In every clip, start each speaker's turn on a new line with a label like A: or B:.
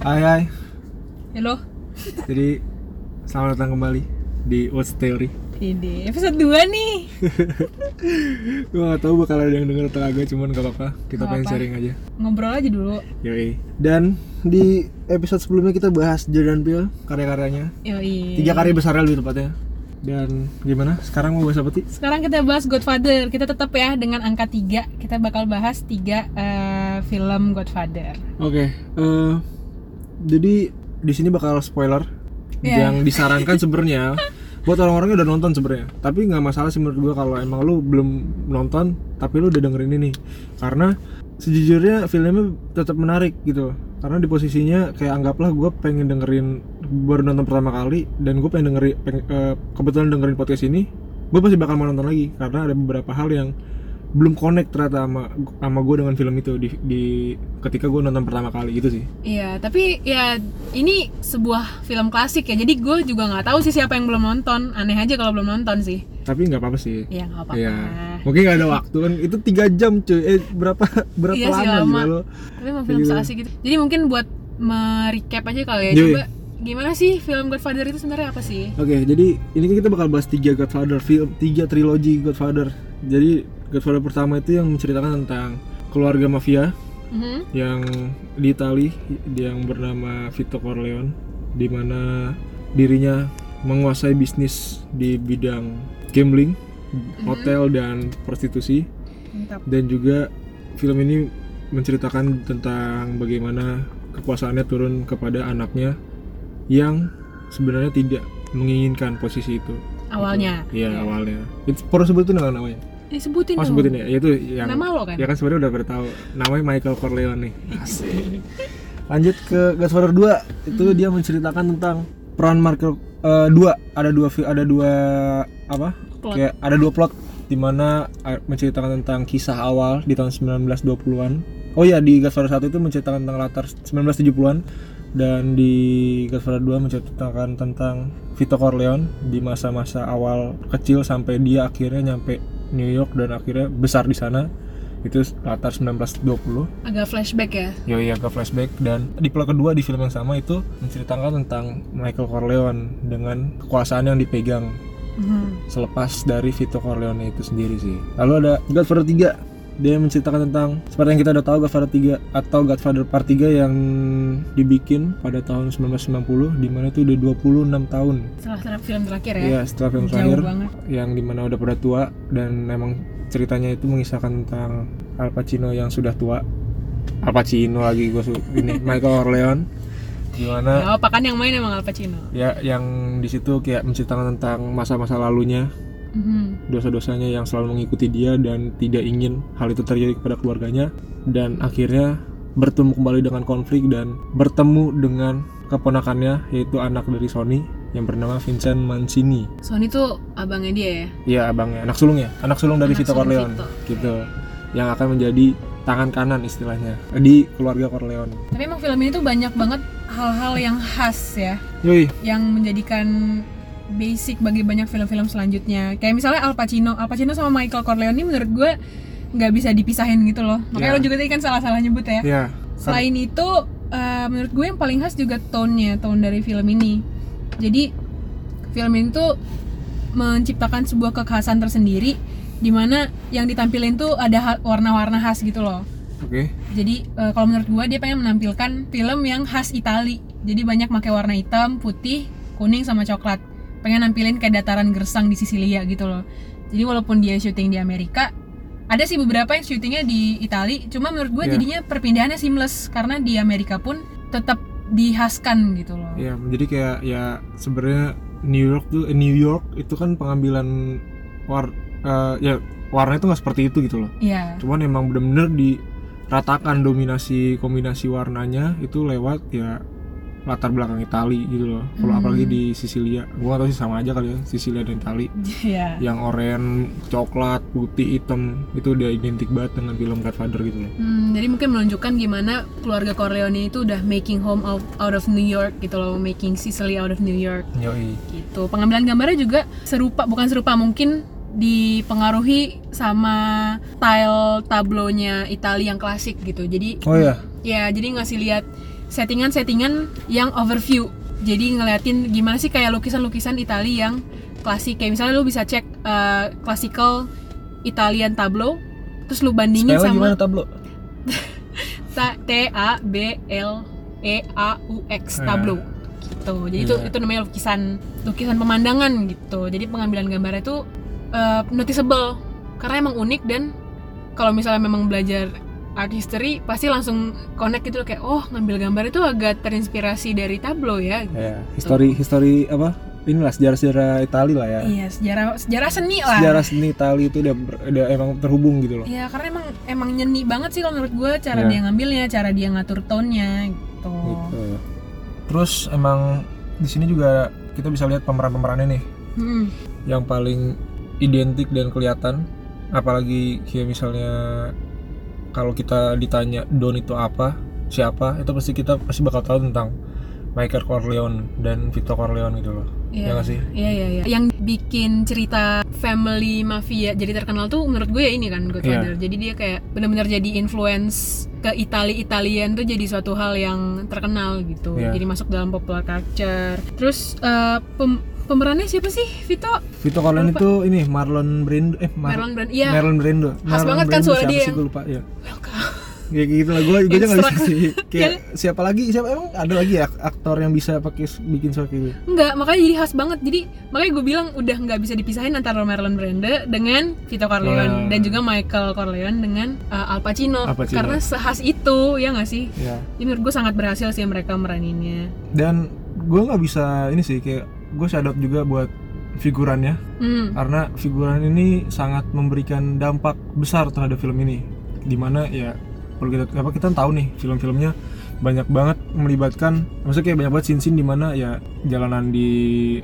A: Hai hai,
B: Halo.
A: jadi selamat datang kembali di What's Theory
B: Ini episode 2 nih.
A: Gua gak tau bakal ada yang denger atau agak, cuman gak apa-apa Kita
B: Gak
A: pengen
B: apa.
A: sharing aja
B: Ngobrol aja dulu.
A: Yoi Dan di episode sebelumnya kita bahas Jordan Peele, karya-karyanya
B: Yoi.
A: Tiga karya besarnya lebih tepatnya Dan gimana, sekarang mau bahas apa Ti?
B: Sekarang kita bahas Godfather. Kita tetap ya dengan angka 3. Kita bakal bahas 3 film Godfather.
A: Oke, eh, jadi di sini bakal spoiler
B: Iya.
A: yang disarankan sebenarnya buat orang-orang yang udah nonton sebenarnya. Tapi nggak masalah sih menurut gua kalau emang lu belum nonton tapi lu udah dengerin ini karena sejujurnya filmnya tetap menarik gitu. Karena di posisinya kayak anggaplah gua pengen dengerin baru nonton pertama kali dan gue pengen dengerin peng- eh, kebetulan dengerin podcast ini, gue pasti bakal mau nonton lagi karena ada beberapa hal yang belum connect ternyata sama sama gue dengan film itu di, di ketika gue nonton pertama kali gitu sih
B: Iya, tapi ya ini sebuah film klasik ya. Jadi gue juga nggak tahu sih siapa yang belum nonton. Aneh aja kalau belum nonton sih.
A: tapi nggak apa-apa sih
B: Iya, nggak apa-apa.
A: Iya, mungkin nggak ada waktu kan itu tiga jam cuy eh berapa berapa
B: Iya sih,
A: lama
B: lama.
A: juga lo
B: Tapi emang film
A: Gitu.
B: seasik gitu. Jadi mungkin buat merecap aja kali ya.
A: Yoi.
B: Coba gimana sih film Godfather itu sebenarnya apa sih?
A: oke jadi ini kan kita bakal bahas tiga Godfather film tiga trilogi Godfather jadi Godfather pertama itu yang menceritakan tentang keluarga mafia
B: Mhm.
A: yang di Itali yang bernama Vito Corleone di mana dirinya menguasai bisnis di bidang gambling,
B: Mhm.
A: hotel dan prostitusi
B: Mantap.
A: dan juga film ini menceritakan tentang bagaimana kekuasaannya turun kepada anaknya yang sebenarnya tidak menginginkan posisi itu.
B: Awalnya.
A: Iya, awalnya. Itu perlu sebutin nggak namanya?
B: Eh, sebutin
A: Oh,
B: dong.
A: sebutin ya. Itu yang
B: Nama lo kan?
A: Ya kan sebenarnya udah pada tahu namanya Michael Corleone nih. Lanjut ke Godfather 2 itu dia menceritakan tentang peran Michael eh, dua ada dua fi- ada dua apa?
B: Plot.
A: Kayak ada dua plot di mana eh, menceritakan tentang kisah awal di tahun 1920-an. Oh iya di Godfather 1 itu menceritakan tentang latar 1970-an dan di Godfather 2 menceritakan tentang Vito Corleone di masa-masa awal kecil sampai dia akhirnya nyampe New York dan akhirnya besar di sana itu latar 1920
B: Agak flashback ya.
A: Yoi agak flashback dan di plot kedua di film yang sama itu menceritakan tentang Michael Corleone dengan kekuasaan yang dipegang Mm-hmm.
B: Mhm.
A: selepas dari Vito Corleone itu sendiri sih. Lalu ada Godfather 3. Dia menceritakan tentang seperti yang kita udah tahu Godfather 3 atau Godfather Part 3 yang dibikin pada tahun 1990 di mana itu udah 26 tahun.
B: Setelah ter- film terakhir ya.
A: Iya, setelah film
B: Jauh
A: terakhir
B: banget.
A: yang dimana udah pada tua dan memang ceritanya itu mengisahkan tentang Al Pacino yang sudah tua. Al Pacino lagi gue ini Michael Corleone gimana
B: Ya, apa kan yang main emang Al Pacino.
A: ya yang di situ kayak menceritakan tentang masa-masa lalunya Mm-hmm.
B: Mhm.
A: dosa-dosanya yang selalu mengikuti dia dan tidak ingin hal itu terjadi kepada keluarganya dan akhirnya bertemu kembali dengan konflik dan bertemu dengan keponakannya yaitu anak dari Sony yang bernama Vincent Mancini
B: Sony tuh abangnya dia ya.
A: ya abangnya anak sulung ya anak sulung dari
B: Anak
A: Vito
B: sulung
A: Corleone
B: Vito.
A: gitu yang akan menjadi tangan kanan istilahnya Eh, di keluarga Corleone
B: Tapi emang film ini tuh banyak banget hal-hal yang khas ya,
A: yoi
B: yang menjadikan basic bagi banyak film-film selanjutnya. Kayak misalnya Al Pacino, Al Pacino sama Michael Corleone ini menurut gue nggak bisa dipisahin gitu loh.
A: Ya.
B: Makanya lo juga tadi kan salah-salah nyebut ya.
A: ya
B: Selain itu, eh, menurut gue yang paling khas juga tone-nya, tone dari film ini. Jadi film ini tuh menciptakan sebuah kekhasan tersendiri di mana yang ditampilin tuh ada ha- warna-warna khas gitu loh.
A: Kan, oke
B: Jadi eh, kalau menurut gue dia pengen menampilkan film yang khas Itali. Jadi banyak pakai warna hitam, putih, kuning sama coklat. Pengen nampilin kayak dataran gersang di Sisilia gitu loh. Jadi walaupun dia syuting di Amerika, ada sih beberapa yang syutingnya di Itali. Cuma menurut gue
A: Iya.
B: jadinya perpindahannya seamless karena di Amerika pun tetap dihaskan gitu loh.
A: Ya, jadi kayak ya sebenarnya New York tuh eh, New York itu kan pengambilan war eh, ya warna itu nggak seperti itu gitu loh.
B: Iya.
A: Cuman emang bener-bener diratakan dominasi kombinasi warnanya itu lewat ya latar belakang Itali gitu loh. Kalau
B: Hmm.
A: apalagi di Sisilia, gua nggak tahu sih sama aja kali ya Sisilia dan Itali.
B: Iya.
A: Yang oranye, coklat, putih, hitam itu udah identik banget dengan film Godfather gitu loh.
B: Hmm, jadi mungkin menunjukkan gimana keluarga Corleone itu udah making home out, out of New York gitu loh, making Sicily out of New York.
A: Yoi.
B: gitu pengambilan gambarnya juga serupa bukan serupa mungkin dipengaruhi sama style tablonya Italia yang klasik gitu jadi
A: Oh ya,
B: ya jadi ngasih lihat settingan-settingan yang overview. Jadi ngeliatin gimana sih kayak lukisan-lukisan Italia yang klasik. Kayak misalnya lu bisa cek eh, classical Italian tableau, terus lu bandingin
A: Spellnya
B: sama
A: gimana tablo?
B: Ta- T A B L E A U X
A: Ah.
B: tableau gitu. Jadi itu
A: Iya.
B: itu namanya lukisan lukisan pemandangan gitu. Jadi pengambilan gambarnya itu eh, noticeable karena emang unik dan kalau misalnya memang belajar art history pasti langsung connect gitu loh kayak oh ngambil gambar itu agak terinspirasi dari tableau ya.
A: Ya, history history apa? Inilah sejarah-sejarah Itali lah ya.
B: Iya, sejarah sejarah seni lah.
A: Sejarah seni Itali itu udah, ber- udah emang terhubung gitu loh.
B: Iya, karena emang emang nyeni banget sih kalau menurut gue cara
A: Iya.
B: dia ngambilnya, cara dia ngatur tone-nya gitu.
A: Gitu. Terus emang di sini juga kita bisa lihat pemeran-pemerannya nih
B: Mm-mm.
A: yang paling identik dan kelihatan apalagi kayak misalnya kalau kita ditanya Don itu apa siapa itu pasti kita pasti bakal tahu tentang Michael Corleone dan Vito Corleone gitu loh
B: Iya.
A: ya nggak sih
B: Iya iya iya. Yang bikin cerita family mafia jadi terkenal tuh menurut gue ya ini kan Godfather.
A: Iya.
B: Jadi dia kayak benar-benar jadi influence ke Itali Italian tuh jadi suatu hal yang terkenal gitu.
A: Iya.
B: Jadi masuk dalam popular culture. Terus eh, pem- pemerannya siapa sih Vito?
A: Vito Corleone itu ini Marlon Brando eh Mar-
B: Marlon Brando. Iya.
A: Marlon Brando
B: Khas
A: Marlon
B: banget kan
A: Brando
B: suara
A: siapa
B: dia.
A: sih gue lupa ya
B: Welcome.
A: kayak gitu lah gue gue aja nggak bisa
B: Extra.
A: sih kayak siapa lagi siapa emang ada lagi ya aktor yang bisa pakai bikin suara kayak gitu
B: Enggak, makanya jadi khas banget. Jadi makanya gue bilang udah nggak bisa dipisahin antara Marlon Brando dengan Vito Corleone
A: Corleone.
B: dan juga Michael Corleone dengan eh, Al,
A: Oh,
B: Pacino.
A: iya. Al Pacino.
B: Karena sehas itu ya nggak sih?
A: ya
B: Jadi menurut gue sangat berhasil sih mereka meraninnya.
A: dan gue nggak bisa ini sih kayak gue shadow juga buat figurannya
B: Hmm.
A: karena figuran ini sangat memberikan dampak besar terhadap film ini dimana ya kalau kita apa kita tahu nih film-filmnya banyak banget melibatkan maksudnya kayak banyak banget scene-scene dimana ya jalanan di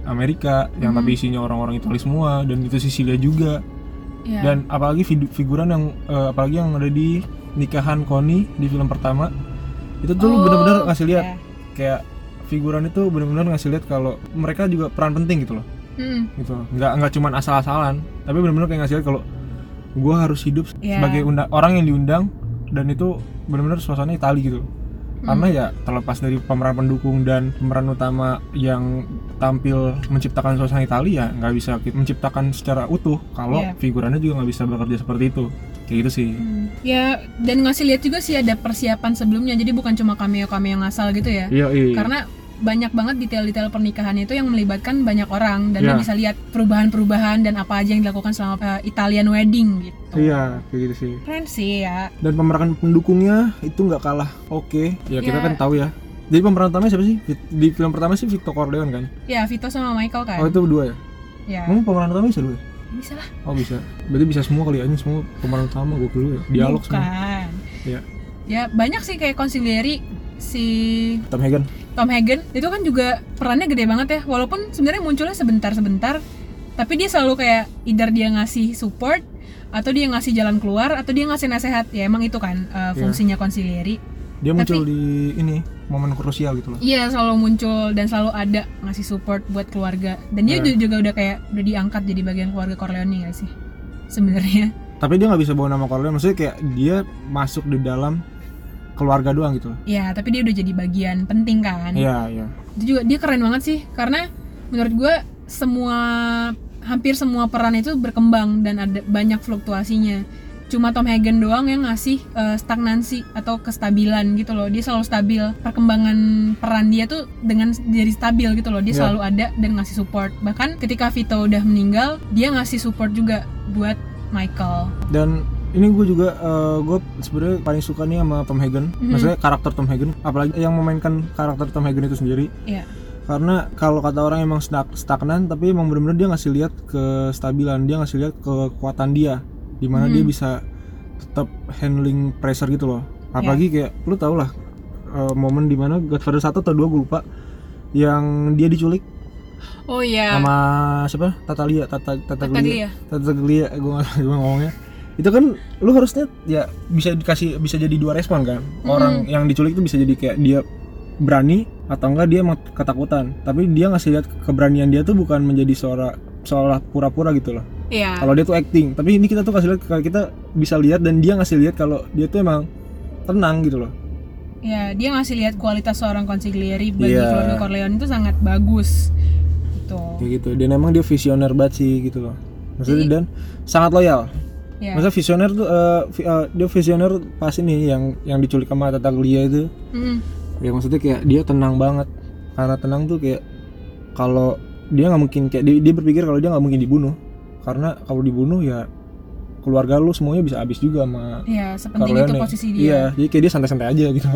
A: Amerika yang
B: Hmm.
A: tapi isinya orang-orang Italia semua dan itu Sisilia juga
B: Ya.
A: dan apalagi vid- figuran yang eh, apalagi yang ada di nikahan Connie di film pertama itu tuh lu
B: Oh,
A: bener-bener ngasih lihat
B: ya.
A: kayak figuran itu bener-bener ngasih lihat kalau mereka juga peran penting gitu loh
B: Hmm.
A: gitu nggak nggak cuman asal-asalan tapi benar-benar kayak ngasih lihat kalau gue harus hidup
B: Ya.
A: sebagai unda- orang yang diundang dan itu benar-benar suasana Itali gitu
B: Hmm.
A: karena ya terlepas dari pemeran pendukung dan pemeran utama yang tampil menciptakan suasana Itali ya nggak bisa ki- menciptakan secara utuh kalau
B: Iya.
A: figurannya juga nggak bisa bekerja seperti itu kayak gitu sih
B: Hmm. Ya dan ngasih lihat juga sih ada persiapan sebelumnya. Jadi bukan cuma cameo-cameo yang asal gitu ya.
A: iya iya
B: Karena banyak banget detail-detail pernikahan itu yang melibatkan banyak orang dan lo
A: Ya.
B: bisa lihat perubahan-perubahan dan apa aja yang dilakukan selama eh, Italian wedding gitu.
A: iya kayak gitu sih
B: Keren sih ya.
A: dan pemeran pendukungnya itu nggak kalah oke ya kita
B: Ya.
A: kan tahu ya jadi pemeran utamanya siapa sih Di- di film pertama sih Vito Corleone kan
B: Ya Vito sama Michael kan.
A: oh itu berdua ya
B: Ya.
A: Emang pemeran utama bisa dulu ya?
B: Bisa lah.
A: Oh bisa. Berarti bisa semua kali aja semua pemeran utama gue dulu ya. Dialog semua.
B: Bukan.
A: Ya.
B: Ya banyak sih kayak consigliere si
A: Tom Hagen.
B: Tom Hagen itu kan juga perannya gede banget ya walaupun sebenarnya munculnya sebentar-sebentar tapi dia selalu kayak either dia ngasih support atau dia ngasih jalan keluar atau dia ngasih nasehat ya emang itu kan uh, fungsinya konsilieri
A: Dia
B: Tapi-
A: muncul di ini momen krusial gitu loh.
B: iya selalu muncul dan selalu ada ngasih support buat keluarga dan dia
A: Ya.
B: ju- juga udah kayak udah diangkat jadi bagian keluarga Corleone gak sih sebenarnya
A: Tapi dia nggak bisa bawa nama Corleone. Maksudnya kayak dia masuk di dalam keluarga doang gitu loh.
B: ya tapi dia udah jadi bagian penting kan
A: Iya iya.
B: itu juga dia keren banget sih karena menurut gue semua hampir semua peran itu berkembang dan ada banyak fluktuasinya cuma Tom Hagen doang yang ngasih eh, stagnansi atau kestabilan gitu loh dia selalu stabil perkembangan peran dia tuh dengan jadi stabil gitu loh dia
A: Iya.
B: selalu ada dan ngasih support bahkan ketika Vito udah meninggal dia ngasih support juga buat Michael
A: Dan ini gue juga gue sebenarnya paling suka nih sama Tom Hagen.
B: Mhm.
A: Maksudnya karakter Tom Hagen. Apalagi yang memainkan karakter Tom Hagen itu sendiri.
B: ya
A: karena kalau kata orang emang stag- stagnan tapi emang bener-bener dia ngasih lihat kestabilan dia ngasih lihat kekuatan dia dimana
B: Hmm.
A: dia bisa tetap handling pressure gitu loh apalagi kayak lu tau lah eh, momen dimana Godfather 1 atau 2 gue lupa yang dia diculik
B: oh iya ya?
A: sama siapa Tatalia Tata Tata Glia
B: Tataglia.
A: Tata Glia gue nggak tahu gimana ngomongnya itu kan lu harusnya ya bisa dikasih bisa jadi dua respon kan orang yang diculik itu bisa jadi kayak dia berani atau enggak dia emang ketakutan tapi dia ngasih lihat keberanian dia tuh bukan menjadi seorang seolah pura-pura gitu loh
B: iya
A: kalau dia tuh acting tapi ini kita tuh kasih lihat kalau kita bisa lihat dan dia ngasih lihat kalau dia tuh emang tenang gitu loh
B: ya dia ngasih lihat kualitas seorang consigliere bagi
A: Iya.
B: keluarga Corleone itu sangat bagus gitu
A: kayak gitu dan emang dia visioner banget sih gitu loh maksudnya
B: Jadi-
A: dan sangat loyal Iya.
B: ya
A: masa visioner tuh eh, vi- eh, dia visioner pas ini yang yang diculik sama Tata Glia itu
B: Mm-mm.
A: ya maksudnya kayak dia tenang banget karena tenang tuh kayak kalau dia nggak mungkin kayak dia, dia berpikir kalau dia nggak mungkin dibunuh karena kalau dibunuh ya keluarga lu semuanya bisa habis juga sama
B: ya sepenting itu
A: Corleone
B: posisi dia
A: iya jadi kayak dia santai-santai aja gitu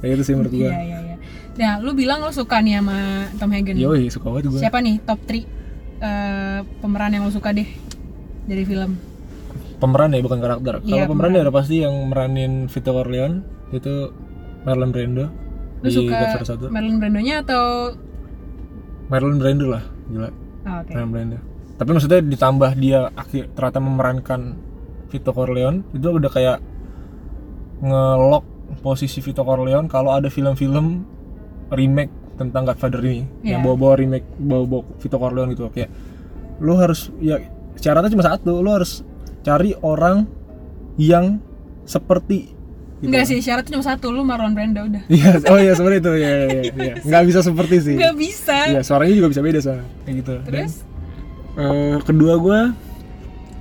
A: kayak gitu sih menurut gua
B: Iya, iya, iya. Nah, lu bilang lu suka nih sama Tom Hagen.
A: yoi suka banget gua
B: Siapa nih top 3 pemeran yang lu suka deh dari film?
A: pemeran ya bukan karakter kalau
B: Iya,
A: pemeran ya udah pasti yang meranin Vito Corleone itu Marlon Brando di
B: Lu suka
A: Godfather
B: Marlon Brandonya atau
A: 1 Marlon Brando lah gila
B: Oh, oke.
A: Ryan Blender. ya. Tapi maksudnya ditambah dia akhir ternyata memerankan Vito Corleone itu udah kayak ngelock posisi Vito Corleone kalau ada film-film remake tentang Godfather ini
B: Iya.
A: yang bawa-bawa remake bawa-bawa Vito Corleone gitu kayak lu harus ya syaratnya cuma satu lu harus cari orang yang seperti gitu.
B: Enggak sih, syaratnya cuma satu, lu Marlon Brando udah.
A: Iya, oh iya seperti itu. Iya, iya, iya, iya. Nggak bisa seperti sih.
B: Enggak bisa.
A: Iya, suaranya juga bisa beda soalnya. Kayak gitu. Dan-
B: Terus
A: Eh, kedua gue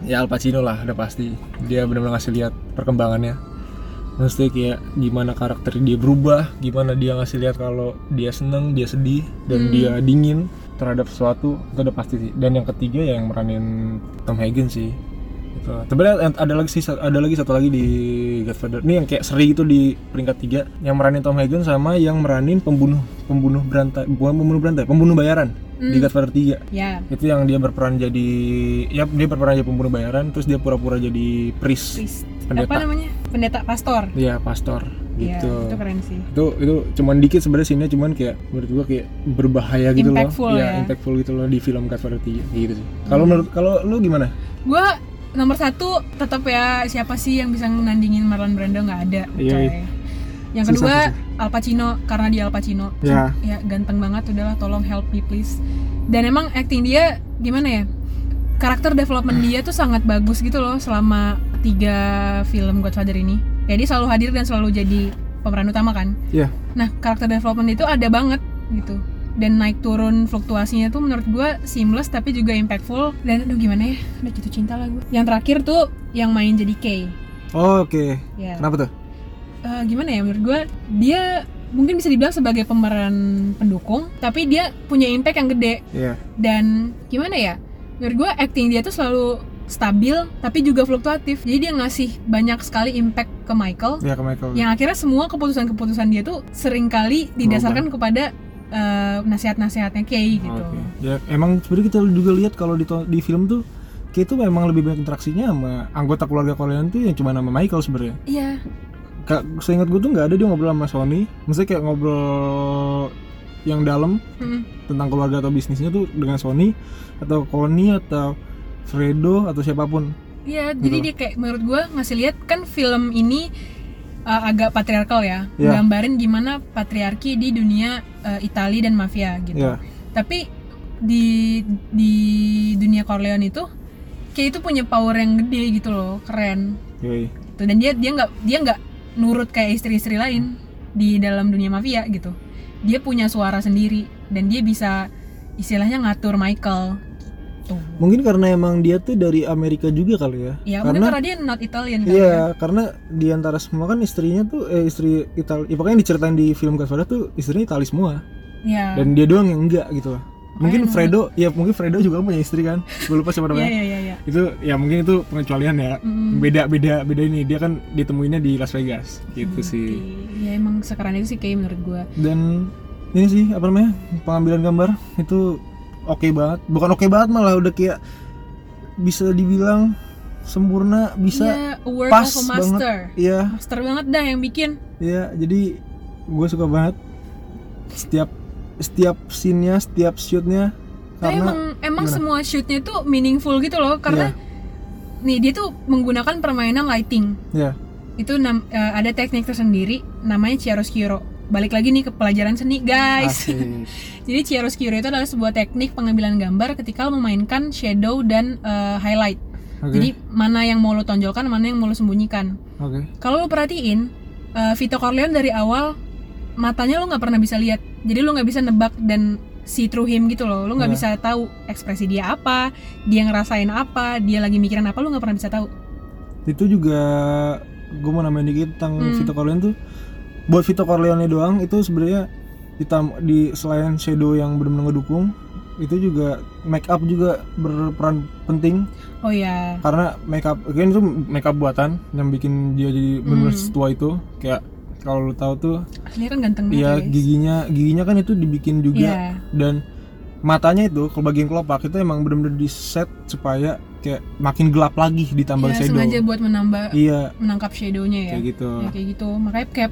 A: ya Al Pacino lah udah pasti dia benar-benar ngasih lihat perkembangannya mesti kayak gimana karakter dia berubah gimana dia ngasih lihat kalau dia seneng dia sedih dan dia dingin terhadap sesuatu itu udah pasti sih dan yang ketiga ya yang meranin Tom Hagen sih itu sebenarnya ada lagi sih ada lagi satu lagi di Godfather ini yang kayak seri itu di peringkat tiga yang meranin Tom Hagen sama yang meranin pembunuh pembunuh berantai bukan pembunuh berantai pembunuh bayaran di Godfather 3
B: ya,
A: itu yang dia berperan jadi ya dia berperan jadi pembunuh bayaran terus dia pura-pura jadi priest
B: priest.
A: Pendeta.
B: Apa namanya? Pendeta pastor.
A: iya pastor
B: Iya,
A: gitu
B: itu keren sih.
A: itu itu cuman dikit sebenarnya sini cuman kayak menurut gua kayak berbahaya gitu
B: Impactful
A: loh
B: ya. Hmm.
A: impactful gitu loh di film Godfather 3 gitu sih kalau menurut kalau lu gimana
B: Gua nomor satu tetap ya siapa sih yang bisa nandingin Marlon Brando nggak ada
A: Iya,
B: coy.
A: iya.
B: yang
A: Susah,
B: kedua
A: susah.
B: Al Pacino karena dia Al Pacino
A: Ya.
B: ya ganteng banget udahlah tolong help me please dan emang acting dia gimana ya karakter development dia tuh sangat bagus gitu loh selama tiga film Godfather ini jadi selalu hadir dan selalu jadi pemeran utama kan
A: iya
B: nah karakter development itu ada banget gitu dan naik turun fluktuasinya tuh menurut gua seamless tapi juga impactful dan aduh gimana ya udah jatuh cinta lah gue yang terakhir tuh yang main jadi Kay
A: Oh, oke
B: ya
A: kenapa tuh
B: Eh, gimana ya menurut gua dia mungkin bisa dibilang sebagai pemeran pendukung tapi dia punya impact yang gede
A: iya
B: dan gimana ya menurut gua acting dia tuh selalu stabil tapi juga fluktuatif jadi dia ngasih banyak sekali impact ke Michael
A: iya ke Michael
B: yang akhirnya semua keputusan-keputusan dia tuh seringkali didasarkan kepada eh, nasihat-nasihatnya Kay gitu.
A: Oke. Ya emang sebenarnya kita juga lihat kalau di to- di film tuh kayak itu memang lebih banyak interaksinya sama anggota keluarga Corleone tuh yang cuma nama Michael sebenarnya
B: Iya,
A: Kak, seingat gue tuh nggak ada dia ngobrol sama Sony. Maksudnya kayak ngobrol yang dalam
B: mm,
A: tentang keluarga atau bisnisnya tuh dengan Sony atau Connie atau Fredo atau siapapun.
B: iya. Jadi
A: Gitu.
B: dia kayak menurut gua ngasih lihat kan film ini eh, agak patriarkal ya,
A: Iya.
B: gambarin gimana patriarki di dunia eh, Itali dan mafia gitu.
A: Ya,
B: Tapi di di dunia Corleone itu kayak itu punya power yang gede gitu loh, keren.
A: yoi.
B: Tuh, Gitu. dan dia dia nggak dia nggak nurut kayak istri-istri lain di dalam dunia mafia gitu dia punya suara sendiri dan dia bisa istilahnya ngatur Michael gitu. tuh
A: Mungkin karena emang dia tuh dari Amerika juga kali ya.
B: ya mungkin
A: karena
B: karena dia not Italian kan
A: Iya, karena di antara semua kan istrinya tuh eh, istri Itali, ya, pokoknya yang diceritain di film Godfather tuh istrinya Itali semua
B: ya
A: dan dia doang yang enggak gitu loh. Mungkin
B: Makanya-
A: Fredo, ya mungkin Fredo juga punya istri kan. Gue lupa siapa
B: iya
A: namanya.
B: iya iya iya.
A: itu ya mungkin itu pengecualian ya
B: Mm.
A: beda beda beda ini dia kan ditemuinnya di Las Vegas gitu sih
B: ya emang sekarang itu sih kayak menurut gua
A: dan ini sih apa namanya pengambilan gambar itu oke banget bukan oke banget malah udah kayak bisa dibilang sempurna bisa
B: Iya, a work
A: pas
B: of a master
A: iya
B: master banget dah yang bikin
A: iya jadi gue suka banget setiap setiap scene-nya setiap shoot-nya
B: Tapi emang
A: karena gimana?
B: emang
A: Iya.
B: semua shootnya tuh meaningful gitu loh karena nih dia tuh menggunakan permainan lighting
A: ya
B: itu nam- eh, ada teknik tersendiri namanya chiaroscuro balik lagi nih ke pelajaran seni guys
A: iya. asik.
B: jadi chiaroscuro itu adalah sebuah teknik pengambilan gambar ketika lo memainkan shadow dan eh, highlight
A: oke
B: jadi mana yang mau lo tonjolkan mana yang mau lo sembunyikan
A: oke
B: kalau lo perhatiin eh, Vito Corleone dari awal matanya lo nggak pernah bisa lihat jadi lo nggak bisa nebak dan see through him gitu loh lo nggak
A: Nah.
B: bisa tahu ekspresi dia apa dia ngerasain apa dia lagi mikirin apa lo nggak pernah bisa tahu
A: itu juga gue mau nambahin dikit tentang
B: Hmm.
A: Vito Corleone tuh buat Vito Corleone doang itu sebenarnya ditam di selain shadow yang benar-benar ngedukung itu juga make up juga berperan penting
B: oh ya
A: karena make up kan itu make up buatan yang bikin dia jadi benar-benar
B: Hmm.
A: setua itu kayak kalau lu tahu tuh
B: aslinya kan ganteng banget
A: ya
B: guys.
A: giginya giginya kan itu dibikin juga
B: Iya.
A: dan matanya itu ke bagian kelopak itu emang bener-bener di set supaya kayak makin gelap lagi ditambah
B: Ya,
A: shadow
B: sengaja buat menambah
A: iya
B: menangkap shadownya ya
A: kayak gitu
B: Ya, kayak gitu makanya kayak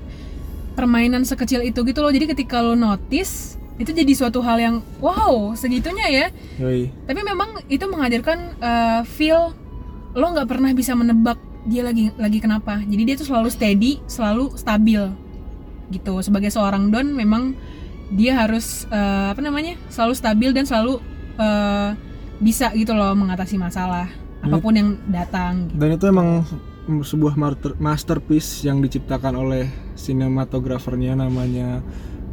B: permainan sekecil itu gitu loh jadi ketika lo notice itu jadi suatu hal yang wow segitunya ya
A: Yoi.
B: tapi memang itu menghadirkan eh, feel lo nggak pernah bisa menebak dia lagi lagi kenapa jadi dia tuh selalu steady selalu stabil gitu sebagai seorang don memang dia harus eh, apa namanya selalu stabil dan selalu eh, bisa gitu loh mengatasi masalah apapun yang datang gitu.
A: dan itu emang sebuah marter- masterpiece yang diciptakan oleh sinematografernya namanya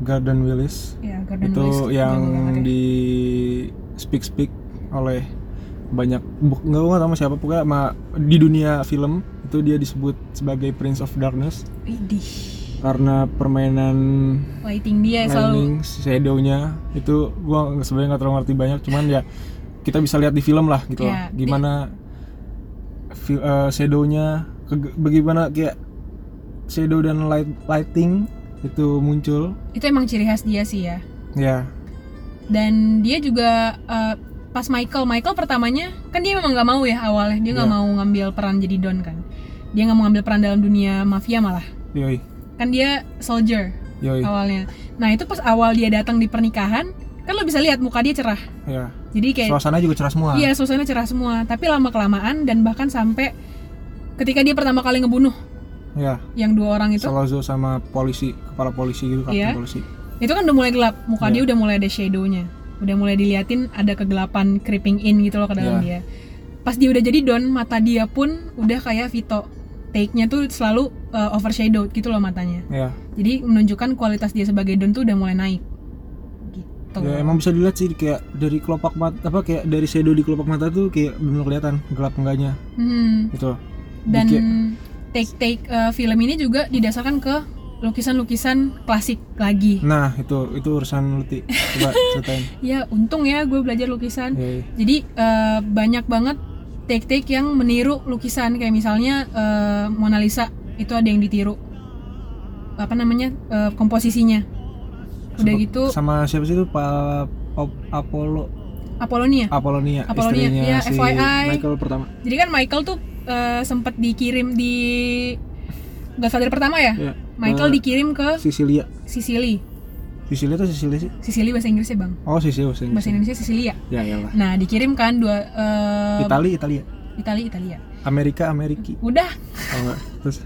A: Garden Willis
B: ya Gordon
A: itu
B: Willis tuh
A: yang
B: jago banget ya.
A: di speak speak oleh banyak buk nggak gua nggak tahu sama siapa pokoknya sama, di dunia film itu dia disebut sebagai Prince of Darkness
B: Widih,
A: karena permainan
B: lighting dia selalu
A: lightning shadownya itu gua nggak- sebenarnya nggak terlalu ngerti banyak cuman ya kita bisa lihat di film lah gitu
B: Iya,
A: loh. gimana fi- eh, shadownya ke- bagaimana kayak shadow dan light lighting itu muncul
B: itu emang ciri khas dia sih ya
A: ya
B: dan dia juga eh, pas Michael Michael pertamanya kan dia memang nggak mau ya awalnya dia nggak
A: Iya.
B: mau ngambil peran jadi don kan dia nggak mau ngambil peran dalam dunia mafia malah
A: yoi
B: kan dia soldier
A: yoi
B: awalnya nah itu pas awal dia datang di pernikahan kan lo bisa lihat muka dia cerah
A: ya
B: jadi kayak
A: suasana juga cerah semua
B: Oh, iya suasana cerah semua tapi lama kelamaan dan bahkan sampai ketika dia pertama kali ngebunuh
A: ya
B: yang dua orang itu
A: Salazzo sama polisi kepala polisi gitu kapten
B: gitu. Iya.
A: polisi
B: itu kan udah mulai gelap muka
A: Iya.
B: dia udah mulai ada shadownya udah mulai diliatin ada kegelapan creeping in gitu loh ke dalam
A: Iya.
B: dia pas dia udah jadi don mata dia pun udah kayak Vito take-nya tuh selalu uh, overshadowed gitu loh matanya
A: ya
B: jadi menunjukkan kualitas dia sebagai don tuh udah mulai naik gitu
A: ya emang bisa dilihat sih kayak dari kelopak mata apa kayak dari shadow di kelopak mata tuh kayak belum kelihatan gelap enggaknya
B: Hmm,
A: gitu
B: dan
A: Dikit.
B: take take film ini juga didasarkan ke lukisan-lukisan klasik lagi
A: nah itu itu urusan luti coba ceritain Iya,
B: ya untung ya gue belajar lukisan
A: Yoi.
B: Jadi eh, banyak banget take-take yang meniru lukisan kayak misalnya eh, Mona Lisa itu ada yang ditiru apa namanya eh, komposisinya. Udah
A: Sama-
B: gitu
A: sama siapa sih itu Pak Op- Apollo
B: Apolonia.
A: Apolonia,
B: Apolonia,
A: istrinya
B: iya,
A: si
B: FYI.
A: Michael pertama
B: Jadi kan Michael tuh eh, sempat dikirim di Godfather pertama ya.
A: Iya.
B: Michael
A: Nah,
B: dikirim ke
A: Sicilia
B: Sicily.
A: Sicilia tuh Sicilia sih
B: Sicily bahasa Inggrisnya bang.
A: oh Sicilia bahasa
B: Bahasa
A: Inggris
B: Indonesia Sicilia.
A: ya iyalah
B: Nah dikirim kan dua eh,
A: Itali Italia
B: Italia Italia.
A: Amerika Ameriki
B: Udah
A: oh, enggak. terus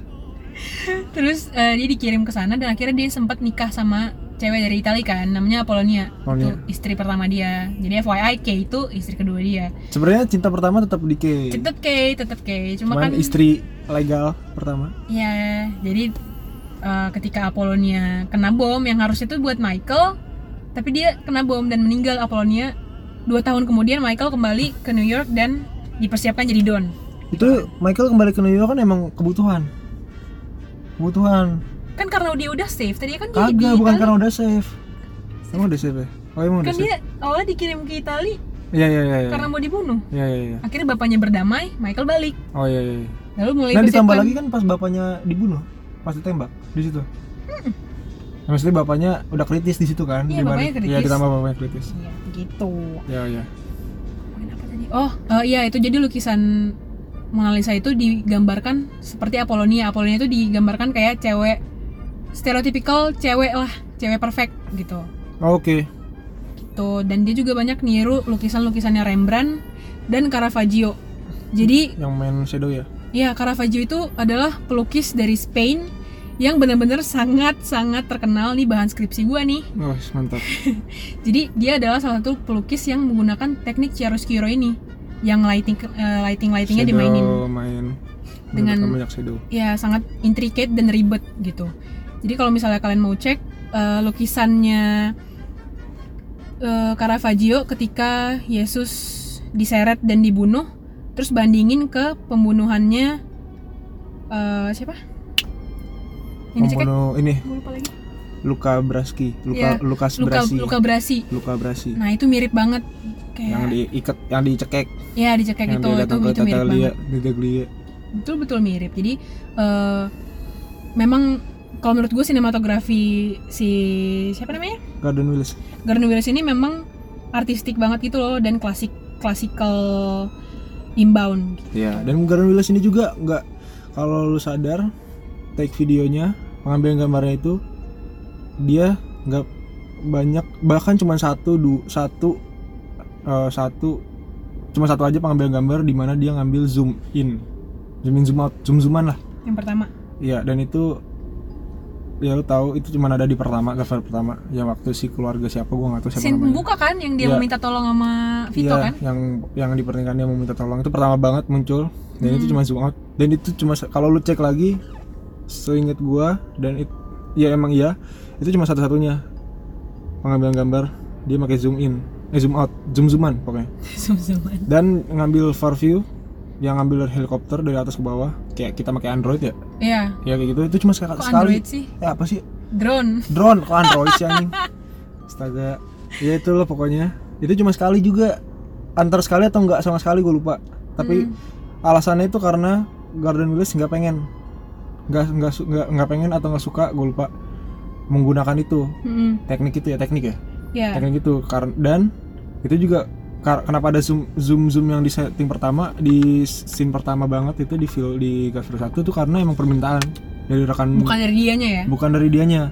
B: Terus eh, dia dikirim ke sana dan akhirnya dia sempat nikah sama cewek dari Italia kan, namanya Apolonia. Itu
A: Apolonia.
B: istri pertama dia. Jadi FYI Kay itu istri kedua dia.
A: sebenarnya cinta pertama tetap di K
B: Tetep Kay, tetep Kay. Cuma
A: cuman
B: kan
A: istri legal pertama
B: ya jadi eh, ketika Apolonia kena bom yang harusnya itu buat Michael, tapi dia kena bom dan meninggal Apolonia. Dua tahun kemudian Michael kembali ke New York dan dipersiapkan jadi Don.
A: itu Michael kembali ke New York kan emang kebutuhan kebutuhan
B: Kan karena dia udah safe, tadi kan dia
A: kagak
B: di
A: bukan
B: Itali.
A: karena udah safe emang udah safe ya oh emang udah
B: Kan
A: safe
B: dia awalnya dikirim ke Italia
A: iya iya iya iya.
B: karena mau dibunuh.
A: iya iya iya
B: Akhirnya bapaknya berdamai, Michael balik.
A: oh iya iya iya.
B: Lalu mulai
A: nah ditambah
B: persiapan.
A: lagi kan pas bapaknya dibunuh pas ditembak di situ Ya, maksudnya bapaknya udah kritis di situ kan
B: Hmm. Iya,
A: di
B: bapaknya
A: Bali.
B: kritis.
A: Iya, ditambah bapaknya kritis
B: Iya, begitu.
A: ya ya
B: Ngomongin apa tadi? Oh, eh, iya itu jadi lukisan Mona Lisa itu digambarkan seperti Apolonia. Apolonia itu digambarkan kayak cewek stereotipikal cewek lah, cewek perfect gitu.
A: Oh, oke
B: Gitu. Dan dia juga banyak niru lukisan-lukisannya Rembrandt dan Caravaggio. Jadi,
A: yang main shadow ya
B: ya Caravaggio itu adalah pelukis dari Spain yang benar-benar sangat-sangat terkenal nih bahan skripsi gua nih.
A: oh mantap
B: Jadi dia adalah salah satu pelukis yang menggunakan teknik chiaroscuro ini, yang lighting eh, lighting lightingnya
A: Shadow
B: dimainin.
A: main
B: dengan
A: Menemukan banyak shadow
B: ya sangat intricate dan ribet gitu. Jadi kalau misalnya kalian mau cek eh, lukisannya eh, Caravaggio ketika Yesus diseret dan dibunuh, terus bandingin ke pembunuhannya eh, siapa? ya? Yang dicekek?
A: Membunuh ini
B: Gua lupa lagi.
A: Luka Braski Luka
B: Iya,
A: Lukas
B: Luka
A: Brasi
B: Luka Brasi.
A: Luka Brasi
B: Nah itu mirip banget
A: yang
B: kayak
A: diikat yang dicekek
B: ya dicekek
A: yang
B: itu
A: dia
B: itu
A: datang ke
B: itu mirip banget.
A: Tataglia Tataglia
B: betul betul mirip jadi eh, memang kalau menurut gue sinematografi si siapa namanya
A: Garden Willis
B: Gordon Willis ini memang artistik banget gitu loh dan klasik klasikal inbound
A: ya dan Garden Willis ini juga nggak kalau lu sadar take videonya pengambilan gambarnya itu dia nggak banyak bahkan cuma satu du, satu eh, satu cuma satu aja pengambilan gambar di mana dia ngambil zoom in zoom in zoom out zoom zooman lah
B: yang pertama
A: Iya, dan itu ya lu tahu itu cuma ada di pertama cover pertama yang waktu si keluarga siapa gua nggak tahu siapa
B: scene
A: namanya
B: pembuka kan yang dia
A: Iya.
B: meminta tolong sama Vito
A: Iya,
B: kan
A: yang yang di pernikahan dia mau minta tolong itu pertama banget muncul dan
B: Hmm.
A: itu cuma zoom out dan itu cuma se- kalau lu cek lagi seinget gua dan it, ya emang iya itu cuma satu-satunya pengambilan gambar dia pakai zoom in eh zoom out zoom zooman pokoknya
B: Zoom-zooman.
A: dan ngambil far view yang ngambil dari helikopter dari atas ke bawah kayak kita pakai android ya
B: iya
A: ya kayak gitu itu cuma sekali
B: kok
A: sekali
B: Android sih
A: ya apa sih
B: drone
A: drone kok android sih anjing astaga ya itu loh pokoknya itu cuma sekali juga antar sekali atau enggak sama sekali gue lupa tapi
B: Hmm.
A: alasannya itu karena Garden Willis nggak pengen nggak nggak su- nggak nggak pengen atau nggak suka gue lupa menggunakan itu
B: Mm-mm.
A: teknik itu ya teknik ya
B: ya
A: teknik itu karena dan itu juga kar- kenapa ada zoom zoom zoom yang di setting pertama di scene pertama banget itu di feel di cover satu itu karena emang permintaan dari rekan
B: bukan dari dianya ya
A: bukan dari dianya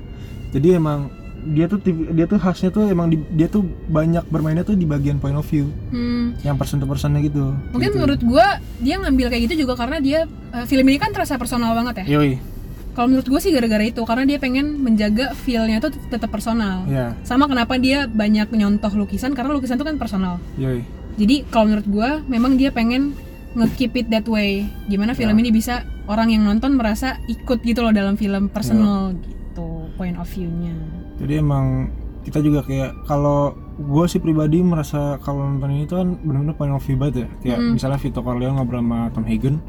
A: jadi emang dia tuh tipi- dia tuh khasnya tuh emang di- dia tuh banyak bermainnya tuh di bagian point of view
B: Hmm.
A: yang person to personnya gitu
B: mungkin
A: Gitu.
B: menurut gua dia ngambil kayak gitu juga karena dia eh, film ini kan terasa personal banget ya
A: yoi
B: kalau menurut gue sih gara-gara itu karena dia pengen menjaga feel-nya tuh tet- tetap personal
A: ya
B: sama kenapa dia banyak nyontoh lukisan karena lukisan tuh kan personal
A: yoi
B: jadi kalau menurut gue memang dia pengen nge-keep it that way gimana film
A: Ya.
B: ini bisa orang yang nonton merasa ikut gitu loh dalam film personal gitu point of view-nya
A: jadi emang kita juga kayak kalau gue sih pribadi merasa kalau nonton ini tuh kan benar-benar point of view banget ya kayak
B: Mm.
A: misalnya Vito Corleone ngobrol sama Tom Hagen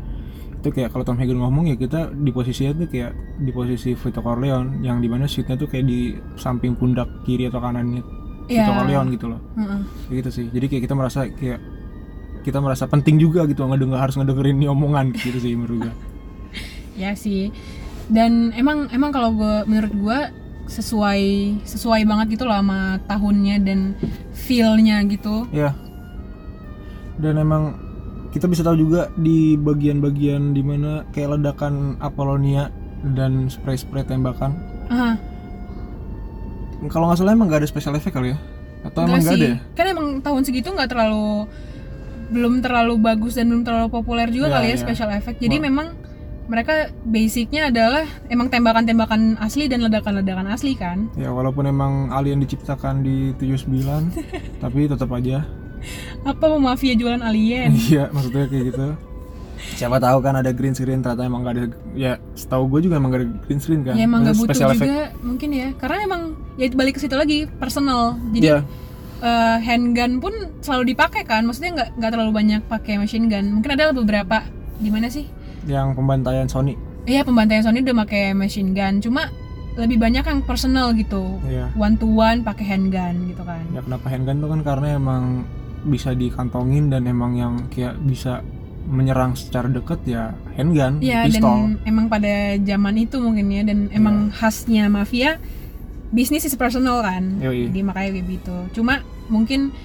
A: itu kayak kalau Tom Hagen ngomong ya kita di posisinya tuh kayak di posisi Vito Corleone yang dimana seatnya tuh kayak di samping pundak kiri atau kanannya Vito
B: Iya.
A: Corleone gitu loh
B: Heeh.
A: Kayak gitu sih jadi kayak kita merasa kayak kita merasa penting juga gitu ngedenger harus ngedengerin ini omongan gitu sih menurut gue
B: ya sih dan emang emang kalau gue menurut gue sesuai sesuai banget gitu loh sama tahunnya dan feel-nya gitu
A: ya dan emang kita bisa tahu juga di bagian-bagian dimana kayak ledakan Apollonia dan spray-spray tembakan
B: Heeh.
A: kalau nggak salah emang nggak ada special effect kali ya atau emang
B: Enggak
A: nggak ada
B: sih.
A: ya?
B: Kan emang tahun segitu nggak terlalu belum terlalu bagus dan belum terlalu populer juga
A: Ya,
B: kali ya
A: ya.
B: special effect. Jadi
A: Wah.
B: memang mereka basicnya adalah emang tembakan-tembakan asli dan ledakan-ledakan asli kan.
A: ya walaupun emang alien diciptakan di 79 tapi tetap aja
B: Apa mau mafia jualan alien?
A: Iya, maksudnya kayak gitu. Siapa tahu kan ada green screen ternyata emang gak ada ya setahu gue juga emang gak ada green screen kan.
B: ya emang nggak
A: Maksudnya
B: butuh
A: special
B: juga
A: effect.
B: mungkin ya. Karena emang ya balik ke situ lagi personal. Jadi
A: Iya,
B: eh, handgun pun selalu dipakai kan. Maksudnya nggak nggak terlalu banyak pakai machine gun. Mungkin ada beberapa di mana sih?
A: yang pembantaian Sony.
B: Iya pembantaian Sony udah pakai machine gun. Cuma lebih banyak yang personal gitu.
A: Iya.
B: one to one pakai handgun gitu kan
A: Ya kenapa handgun tuh kan karena emang bisa dikantongin dan emang yang kayak bisa menyerang secara dekat ya handgun,
B: Iya
A: pistol.
B: dan emang pada zaman itu mungkin ya dan emang khasnya mafia bisnis is personal kan
A: Yoi.
B: jadi makanya kayak gitu cuma mungkin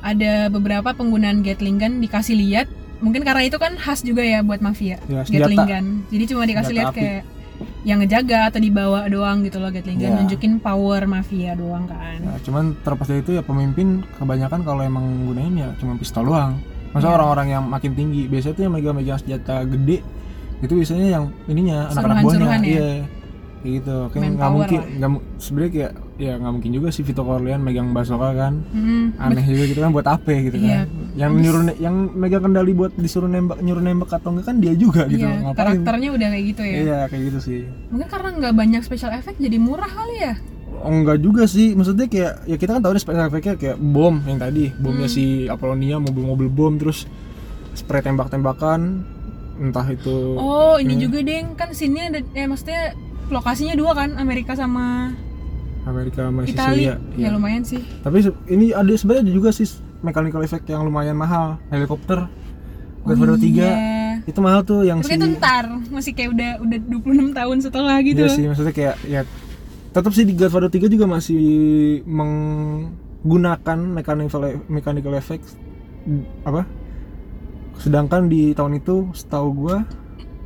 B: ada beberapa penggunaan Gatling gun dikasih lihat mungkin karena itu kan khas juga ya buat mafia
A: Ya, senjata.
B: Gatling gun jadi cuma dikasih
A: Senjata api.
B: lihat kayak yang ngejaga atau dibawa doang gitu loh Gatling gun
A: Iya.
B: nunjukin power mafia doang kan
A: Ya, cuman terlepas dari itu ya pemimpin kebanyakan kalau emang gunain ya cuma pistol doang. Masa
B: Iya.
A: orang-orang yang makin tinggi biasanya tuh yang megang-megang senjata gede itu biasanya yang ininya anak-anak buahnya.
B: Suruhan-suruhan ya?
A: Iya. Kayak gitu. Kayak
B: Main
A: nggak
B: power
A: mungkin
B: lah.
A: nggak mu- sebenarnya kayak ya nggak mungkin juga sih Vito Corleone megang basoka kan.
B: Mm-mm.
A: Aneh juga gitu kan buat apa gitu kan.
B: Iya,
A: yang nyuruh ne- yang megang kendali buat disuruh nembak nyuruh nembak atau enggak kan dia juga gitu
B: Iya,
A: ngapain
B: karakternya udah kayak gitu ya.
A: iya kayak gitu sih
B: Mungkin karena nggak banyak special effect jadi murah kali ya.
A: Oh, enggak juga sih maksudnya kayak ya kita kan tahu deh special effect-nya kayak bom yang tadi bomnya
B: Hmm.
A: si Apollonia mobil-mobil bom terus spray tembak-tembakan entah itu
B: Oh, ini
A: iya.
B: juga deng kan scene-nya ada eh maksudnya lokasinya dua kan Amerika sama
A: Amerika sama iya.
B: Italia.
A: Sicilia
B: Ya lumayan sih.
A: tapi se- ini ada sebenarnya ada juga sih mechanical effect yang lumayan mahal helikopter Black Widow tiga
B: Iya.
A: itu mahal tuh yang si
B: Tapi itu ntar masih kayak udah udah 26 tahun setelah gitu.
A: Iya
B: loh.
A: sih, maksudnya kayak ya tetap sih di Godfather 3 juga masih menggunakan mechanical e, mechanical effects mm, apa? Sedangkan di tahun itu setahu gua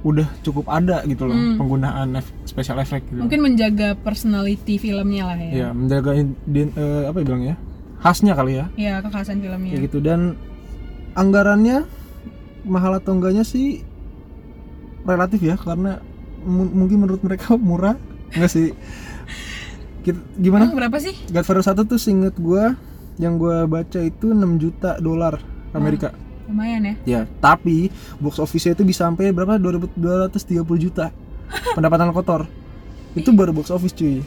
A: udah cukup ada gitu loh
B: Hmm.
A: penggunaan ef- special effect gitu.
B: Mungkin menjaga personality filmnya lah ya.
A: Ya, menjaga iden- eh, apa ya bilang ya? Khasnya kali ya.
B: Iya, kekhasan filmnya.
A: Kayak gitu dan anggarannya mahal atau enggaknya sih relatif ya karena mu- mungkin menurut mereka murah enggak sih Kita- gimana
B: Emang berapa sih?
A: Godfather 1 tuh seinget gua yang gua baca itu 6 juta dolar Amerika
B: Lumayan ya.
A: ya tapi box office itu bisa sampai berapa 2.230 juta pendapatan kotor itu baru box office cuy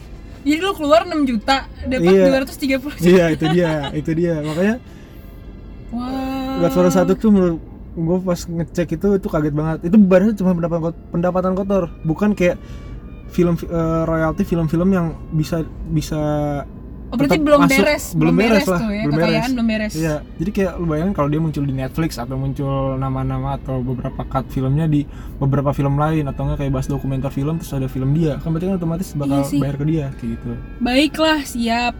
B: Jadi lu keluar 6 juta, dapat
A: Iya.
B: 230 juta.
A: iya itu dia itu dia makanya
B: Wow.
A: Godfather 1 tuh menurut gue pas ngecek itu itu kaget banget. Itu baru cuma pendapatan kot- pendapatan kotor, bukan kayak film eh, royalti film-film yang bisa bisa
B: Oh, berarti
A: tetap
B: belum
A: masuk-
B: beres,
A: belum beres lah,
B: tuh ya,
A: belum
B: kekayaan
A: beres.
B: belum beres.
A: iya. Jadi kayak lu bayangin kalau dia muncul di Netflix atau muncul nama-nama atau beberapa cut filmnya di beberapa film lain atau enggak kayak bahas dokumenter film terus ada film dia, kan berarti kan otomatis bakal
B: Iya sih.
A: bayar ke dia kayak gitu.
B: Baiklah, siap.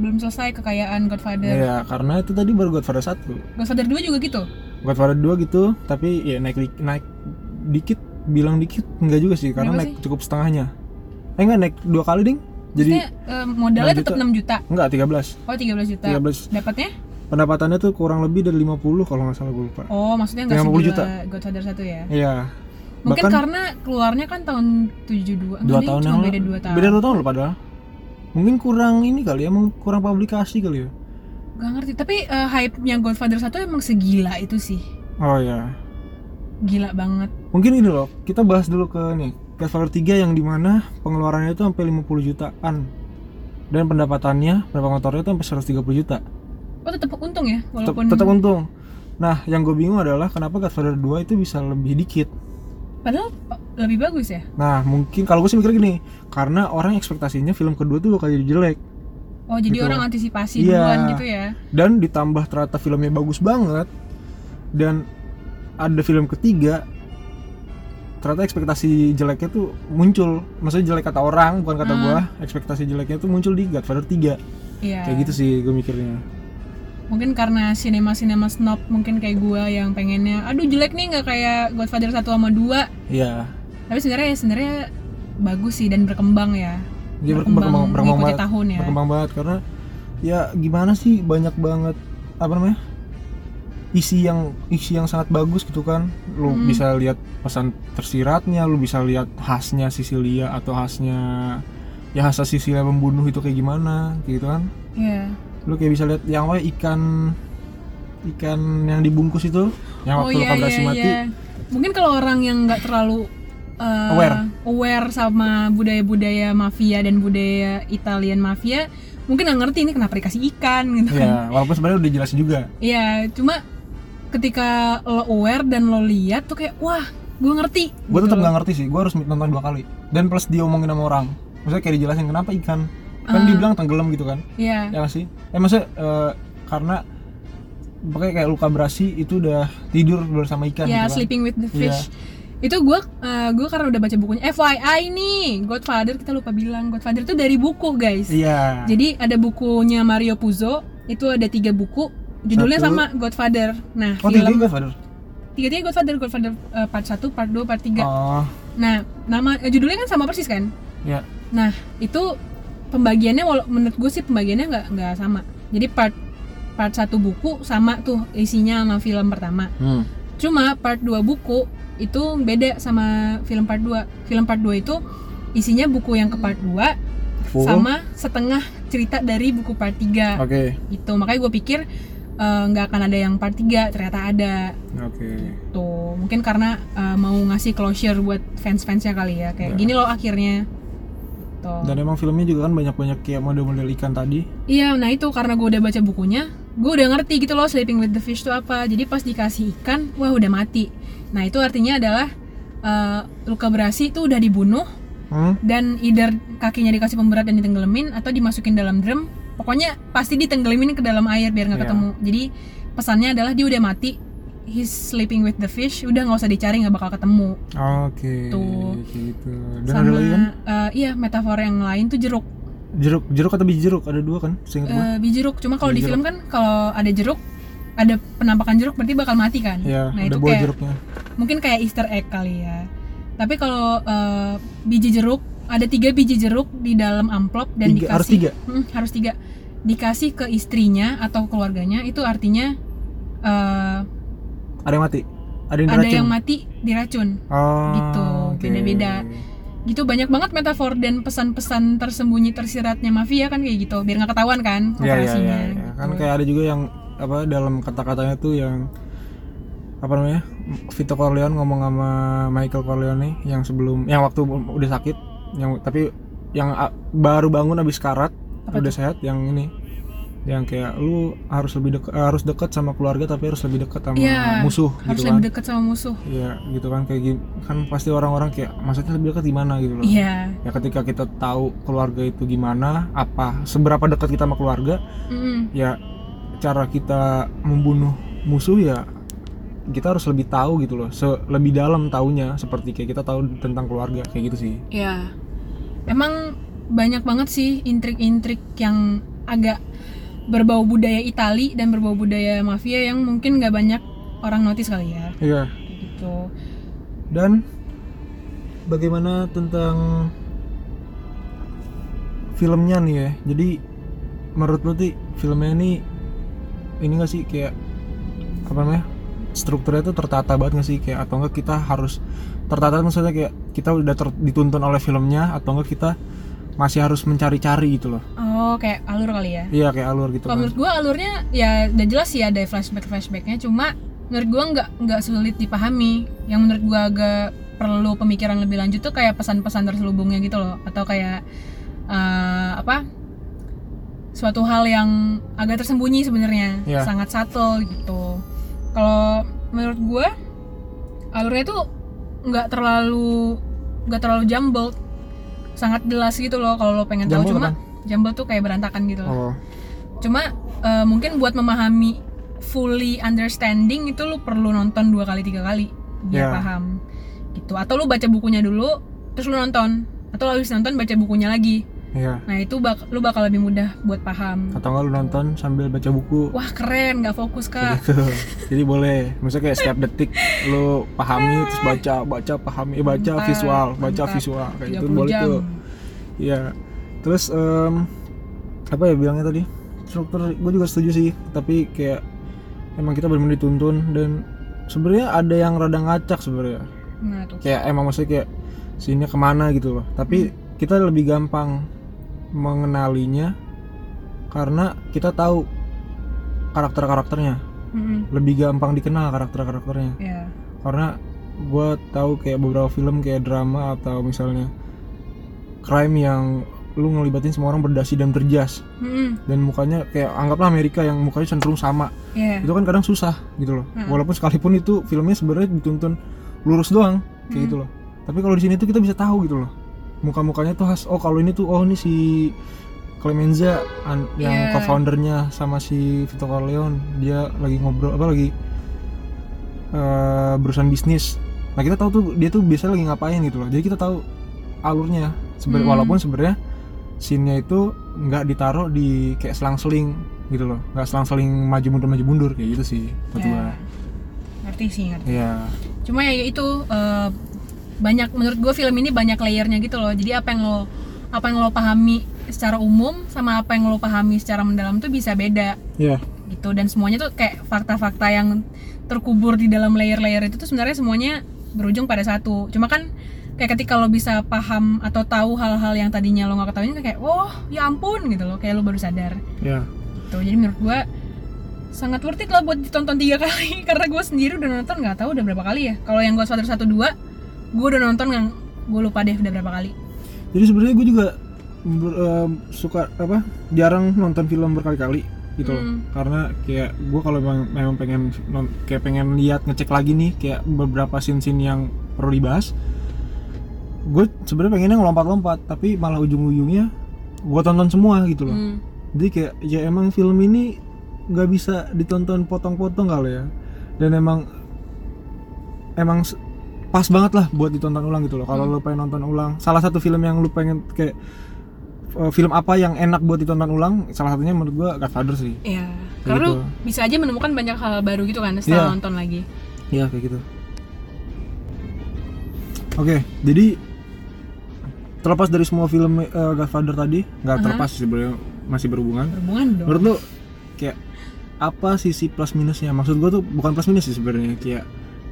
B: Belum selesai kekayaan Godfather.
A: Iya, karena itu tadi baru Godfather 1.
B: Godfather 2 juga gitu.
A: Godfather 2 gitu, tapi ya naik di- naik dikit bilang dikit enggak juga sih karena
B: Berapa
A: naik cukup setengahnya. Eh enggak naik dua kali ding. Jadi
B: Maksudnya eh, modalnya
A: 6
B: tetap
A: juta.
B: 6 juta.
A: Enggak, 13.
B: Oh, 13 juta.
A: 13.
B: Dapatnya?
A: Pendapatannya tuh kurang lebih dari 50 kalau nggak salah gue lupa.
B: Oh, maksudnya enggak
A: 50
B: segila
A: juta.
B: Godfather 1 ya.
A: Iya.
B: Mungkin
A: Bahkan
B: karena keluarnya kan tahun
A: dua
B: 72. Enggak,
A: tahun
B: cuma
A: yang
B: beda 2 tahun.
A: Beda 2 tahun loh padahal. Mungkin kurang ini kali ya, mung- kurang publikasi kali ya.
B: Gak ngerti, tapi eh, hype-nya Godfather 1 emang segila itu sih.
A: Oh iya.
B: Gila banget.
A: Mungkin ini loh, kita bahas dulu ke nih Godfather 3 yang dimana pengeluarannya itu sampai 50 jutaan dan pendapatannya, pendapatan motornya itu sampai 130 juta.
B: Oh, tetap untung ya
A: Tetap,
B: walaupun
A: tetap untung. Nah, yang gue bingung adalah kenapa Godfather 2 itu bisa lebih dikit.
B: padahal pa- lebih bagus ya.
A: Nah, mungkin kalau gue sih mikir gini, karena orang ekspektasinya film kedua tuh bakal jadi jelek.
B: Oh, jadi
A: Gitu.
B: orang antisipasi
A: Iya.
B: duluan gitu ya.
A: dan ditambah ternyata filmnya bagus banget dan ada film ketiga ternyata ekspektasi jeleknya tuh muncul maksudnya jelek kata orang bukan kata
B: Hmm.
A: gua ekspektasi jeleknya tuh muncul di Godfather 3
B: Iya.
A: kayak gitu sih gue mikirnya
B: Mungkin karena sinema-sinema snob mungkin kayak gua yang pengennya aduh jelek nih nggak kayak Godfather 1 sama 2.
A: iya
B: Tapi sebenarnya ya sebenarnya bagus sih dan berkembang ya.
A: dia berkembang berkembang, berkembang
B: mengikuti
A: banget
B: tahun ya.
A: berkembang banget karena ya gimana sih banyak banget apa namanya isi yang isi yang sangat bagus gitu kan lu
B: Hmm.
A: bisa lihat pesan tersiratnya lu bisa lihat khasnya Sisilia atau khasnya ya khas Sisilia pembunuh itu kayak gimana gitu kan
B: Iya.
A: lu kayak bisa lihat yang apa ikan ikan yang dibungkus itu
B: Oh,
A: yang waktu luka berasi mati
B: iya, Mungkin kalau orang yang nggak terlalu uh,
A: Aware.
B: aware sama budaya-budaya mafia dan budaya Italian mafia, mungkin nggak ngerti ini kenapa dikasih ikan gitu.
A: ya walaupun sebenarnya udah jelasin juga
B: Iya, cuma ketika lo aware dan lo lihat tuh kayak wah, gue ngerti.
A: gue
B: gitu
A: tetap
B: loh.
A: nggak ngerti sih gue harus nonton dua kali dan plus dia omongin sama orang maksudnya kayak dijelasin kenapa ikan
B: Ah.
A: kan dibilang tenggelam gitu kan ya
B: Iya.
A: nggak sih eh maksudnya eh, karena pakai kayak luka berasi itu udah tidur bersama ikan gitu
B: Ya,
A: kan
B: Sleeping with the Fish. Itu gue gue karena udah baca bukunya FYI nih, Godfather kita lupa bilang Godfather itu dari buku, guys.
A: iya
B: Jadi ada bukunya Mario Puzo, itu ada tiga buku, judulnya
A: Satu.
B: sama Godfather. Nah,
A: oh tiga
B: film
A: juga father
B: tiga-tiga Godfather, Godfather eh, part 1, part 2, part 3.
A: oh
B: Nah, nama eh, judulnya kan sama persis kan?
A: ya
B: Nah, itu pembagiannya wala- menurut gue sih pembagiannya nggak nggak sama. Jadi part part satu buku sama tuh isinya sama film pertama.
A: hmm.
B: Cuma part 2 buku itu beda sama film part 2. Film part 2 itu isinya buku yang ke part 2
A: Full.
B: sama setengah cerita dari buku part 3
A: oke
B: itu makanya gue pikir eh, nggak akan ada yang part 3 ternyata ada
A: Oke.
B: tuh mungkin karena eh, mau ngasih closure buat fans-fansnya kali ya
A: Ya.
B: kayak gini loh akhirnya tuh
A: Dan emang filmnya juga kan banyak-banyak kayak model-model ikan tadi.
B: Iya, nah itu karena gue udah baca bukunya, gue udah ngerti gitu loh sleeping with the fish itu apa. Jadi pas dikasih ikan, wah udah mati. Nah itu artinya adalah eh, luka berasi itu udah dibunuh
A: Hmm?
B: dan either kakinya dikasih pemberat dan ditenggelamin atau dimasukin dalam drum. Pokoknya pasti ditenggelamin ke dalam air biar
A: Iya.
B: nggak ketemu. Jadi pesannya adalah dia udah mati, he's sleeping with the fish, udah nggak usah dicari nggak bakal ketemu.
A: Oke.
B: Tuh.
A: Gitu. Dan ada
B: Sama
A: lagi kan?
B: eh, iya metafor yang lain tuh jeruk.
A: Jeruk, jeruk atau biji jeruk ada dua kan? Seingat gue.
B: Eh, biji jeruk cuma kalau di
A: Biji
B: film kan kalau ada jeruk ada penampakan jeruk berarti bakal mati kan
A: Ya,
B: nah
A: ada
B: itu
A: buah
B: kayak
A: jeruknya.
B: mungkin kayak Easter egg kali ya tapi kalau eh, biji jeruk ada tiga biji jeruk di dalam amplop dan
A: Tiga-
B: dikasih
A: harus tiga?
B: Hmm, harus tiga dikasih ke istrinya atau keluarganya itu artinya eh,
A: Ada yang mati. Ada yang
B: ada
A: diracun.
B: yang mati diracun
A: Ah,
B: Gitu,
A: oke.
B: beda-beda. gitu banyak banget metafor dan pesan-pesan tersembunyi tersiratnya mafia kan kayak gitu biar nggak ketahuan kan
A: Iya, iya,
B: operasinya
A: iya, iya. Kan
B: gitu.
A: kayak ada juga yang apa dalam kata-katanya tuh yang apa namanya? Vito Corleone ngomong sama Michael Corleone yang sebelum yang waktu udah sakit, yang tapi yang a- baru bangun habis karat,
B: Apa
A: udah sehat yang ini. Yang kayak lu harus lebih dek- harus dekat sama keluarga tapi harus lebih dekat sama
B: Iya,
A: musuh
B: harus
A: gitu
B: lebih
A: kan.
B: dekat sama musuh
A: Iya, gitu kan kayak gini. Kan pasti orang-orang kayak maksudnya lebih dekat gimana gitu loh.
B: iya
A: ya ketika kita tahu keluarga itu gimana apa seberapa dekat kita sama keluarga
B: Mm-mm.
A: ya cara kita membunuh musuh ya kita harus lebih tahu gitu loh se- lebih dalam tahunya seperti kayak kita tahu tentang keluarga kayak gitu sih
B: iya emang banyak banget sih intrik-intrik yang agak berbau budaya Itali dan berbau budaya mafia yang mungkin nggak banyak orang notice kali ya
A: iya
B: Kayak gitu
A: dan bagaimana tentang filmnya nih ya jadi menurut lo Ti, filmnya ini ini gak sih kayak apa namanya strukturnya tuh tertata banget gak sih kayak atau enggak kita harus tertata maksudnya kayak kita udah ter- dituntun oleh filmnya atau enggak kita masih harus mencari-cari gitu loh
B: oh kayak alur kali ya
A: iya kayak alur gitu
B: kalau
A: kan
B: menurut gua alurnya ya udah jelas sih ada flashback flashbacknya cuma menurut gua nggak nggak sulit dipahami yang menurut gua agak perlu pemikiran lebih lanjut tuh kayak pesan-pesan terselubungnya gitu loh atau kayak eh, apa suatu hal yang agak tersembunyi sebenarnya
A: Iya.
B: sangat subtle gitu kalau menurut gua alurnya tuh nggak terlalu nggak terlalu jumbled sangat jelas gitu loh kalau lo pengen tahu
A: Jumbled
B: cuma jumbled tuh kayak berantakan gitu loh
A: oh
B: cuma eh, mungkin buat memahami fully understanding itu lu perlu nonton dua kali tiga kali
A: Ya.
B: biar paham gitu atau lu baca bukunya dulu terus lu nonton atau lu habis nonton baca bukunya lagi
A: iya
B: nah itu bak lu bakal lebih mudah buat paham
A: atau enggak lu nonton sambil baca buku
B: wah keren nggak fokus
A: Kayak
B: kak
A: gitu jadi boleh maksudnya kayak setiap detik lu pahami terus baca baca pahami eh, baca
B: Ah. Mantap,
A: visual baca
B: mantap.
A: visual kayak gitu
B: 30
A: boleh
B: jam.
A: tuh iya terus em, apa ya bilangnya tadi struktur gue juga setuju sih tapi kayak emang kita benar-benar dituntun dan sebenarnya ada yang rada ngacak sebenarnya
B: nah tuh
A: kayak emang maksudnya kayak sini kemana gitu loh
B: Hmm.
A: tapi kita lebih gampang mengenalinya karena kita tahu karakter-karakternya
B: Mm-mm.
A: lebih gampang dikenal karakter-karakternya
B: ya
A: karena gue tahu kayak beberapa film kayak drama atau misalnya crime yang lu ngelibatin semua orang berdasi dan berjas
B: Mm-mm.
A: dan mukanya kayak anggaplah Amerika yang mukanya cenderung sama
B: ya
A: itu kan kadang susah gitu loh
B: Hmm.
A: walaupun sekalipun itu filmnya sebenarnya dituntun lurus doang kayak
B: Hmm.
A: gitu loh tapi kalau di sini tuh kita bisa tahu gitu loh muka-mukanya tuh khas oh kalau ini tuh oh ini si Clemenza an- yang
B: Iya.
A: co-foundernya sama si Vito Corleone dia lagi ngobrol apa lagi eh berurusan bisnis nah kita tahu tuh dia tuh biasanya lagi ngapain gitu loh jadi kita tahu alurnya Seben-
B: Hmm.
A: walaupun sebenarnya scene-nya itu nggak ditaruh di kayak selang-seling gitu loh nggak selang-seling maju mundur maju mundur kayak gitu sih menurut
B: Ya.
A: gua.
B: ngerti sih ngerti
A: Iya.
B: cuma ya itu eh, banyak menurut gue film ini banyak layernya gitu loh jadi apa yang lo apa yang lo pahami secara umum sama apa yang lo pahami secara mendalam tuh bisa beda
A: Iya.
B: gitu dan semuanya tuh kayak fakta-fakta yang terkubur di dalam layer-layer itu tuh sebenarnya semuanya berujung pada satu cuma kan kayak ketika lo bisa paham atau tahu hal-hal yang tadinya lo nggak ketahuin kayak oh ya ampun gitu loh kayak lo baru sadar
A: Iya.
B: gitu jadi menurut gua sangat worth it lah buat ditonton tiga kali karena gue sendiri udah nonton nggak tahu udah berapa kali ya kalau yang Godfather satu dua gue udah nonton yang gue lupa deh udah berapa kali
A: jadi sebenarnya gue juga ber- em, suka apa jarang nonton film berkali-kali gitu loh.
B: Hmm.
A: karena kayak gue kalau memang, memang pengen non- kayak pengen lihat ngecek lagi nih kayak beberapa scene-scene yang perlu dibahas gue sebenarnya pengennya ngelompat-lompat tapi malah ujung-ujungnya gue tonton semua gitu loh
B: Hmm.
A: jadi kayak ya emang film ini nggak bisa ditonton potong-potong kali ya dan emang emang s- pas banget lah buat ditonton ulang gitu loh kalau
B: Hmm.
A: lo pengen nonton ulang salah satu film yang lu pengen kayak eh, film apa yang enak buat ditonton ulang salah satunya menurut gua Godfather sih
B: ya karena lu
A: Gitu.
B: bisa aja menemukan banyak hal baru gitu kan setelah
A: Iya.
B: nonton lagi
A: Iya kayak gitu. Oke, jadi terlepas dari semua film eh, Godfather tadi, nggak
B: Aha.
A: terlepas sih sebenarnya masih berhubungan.
B: berhubungan dong
A: Menurut lu kayak apa sisi plus minusnya? Maksud gua tuh bukan plus minus sih sebenarnya kayak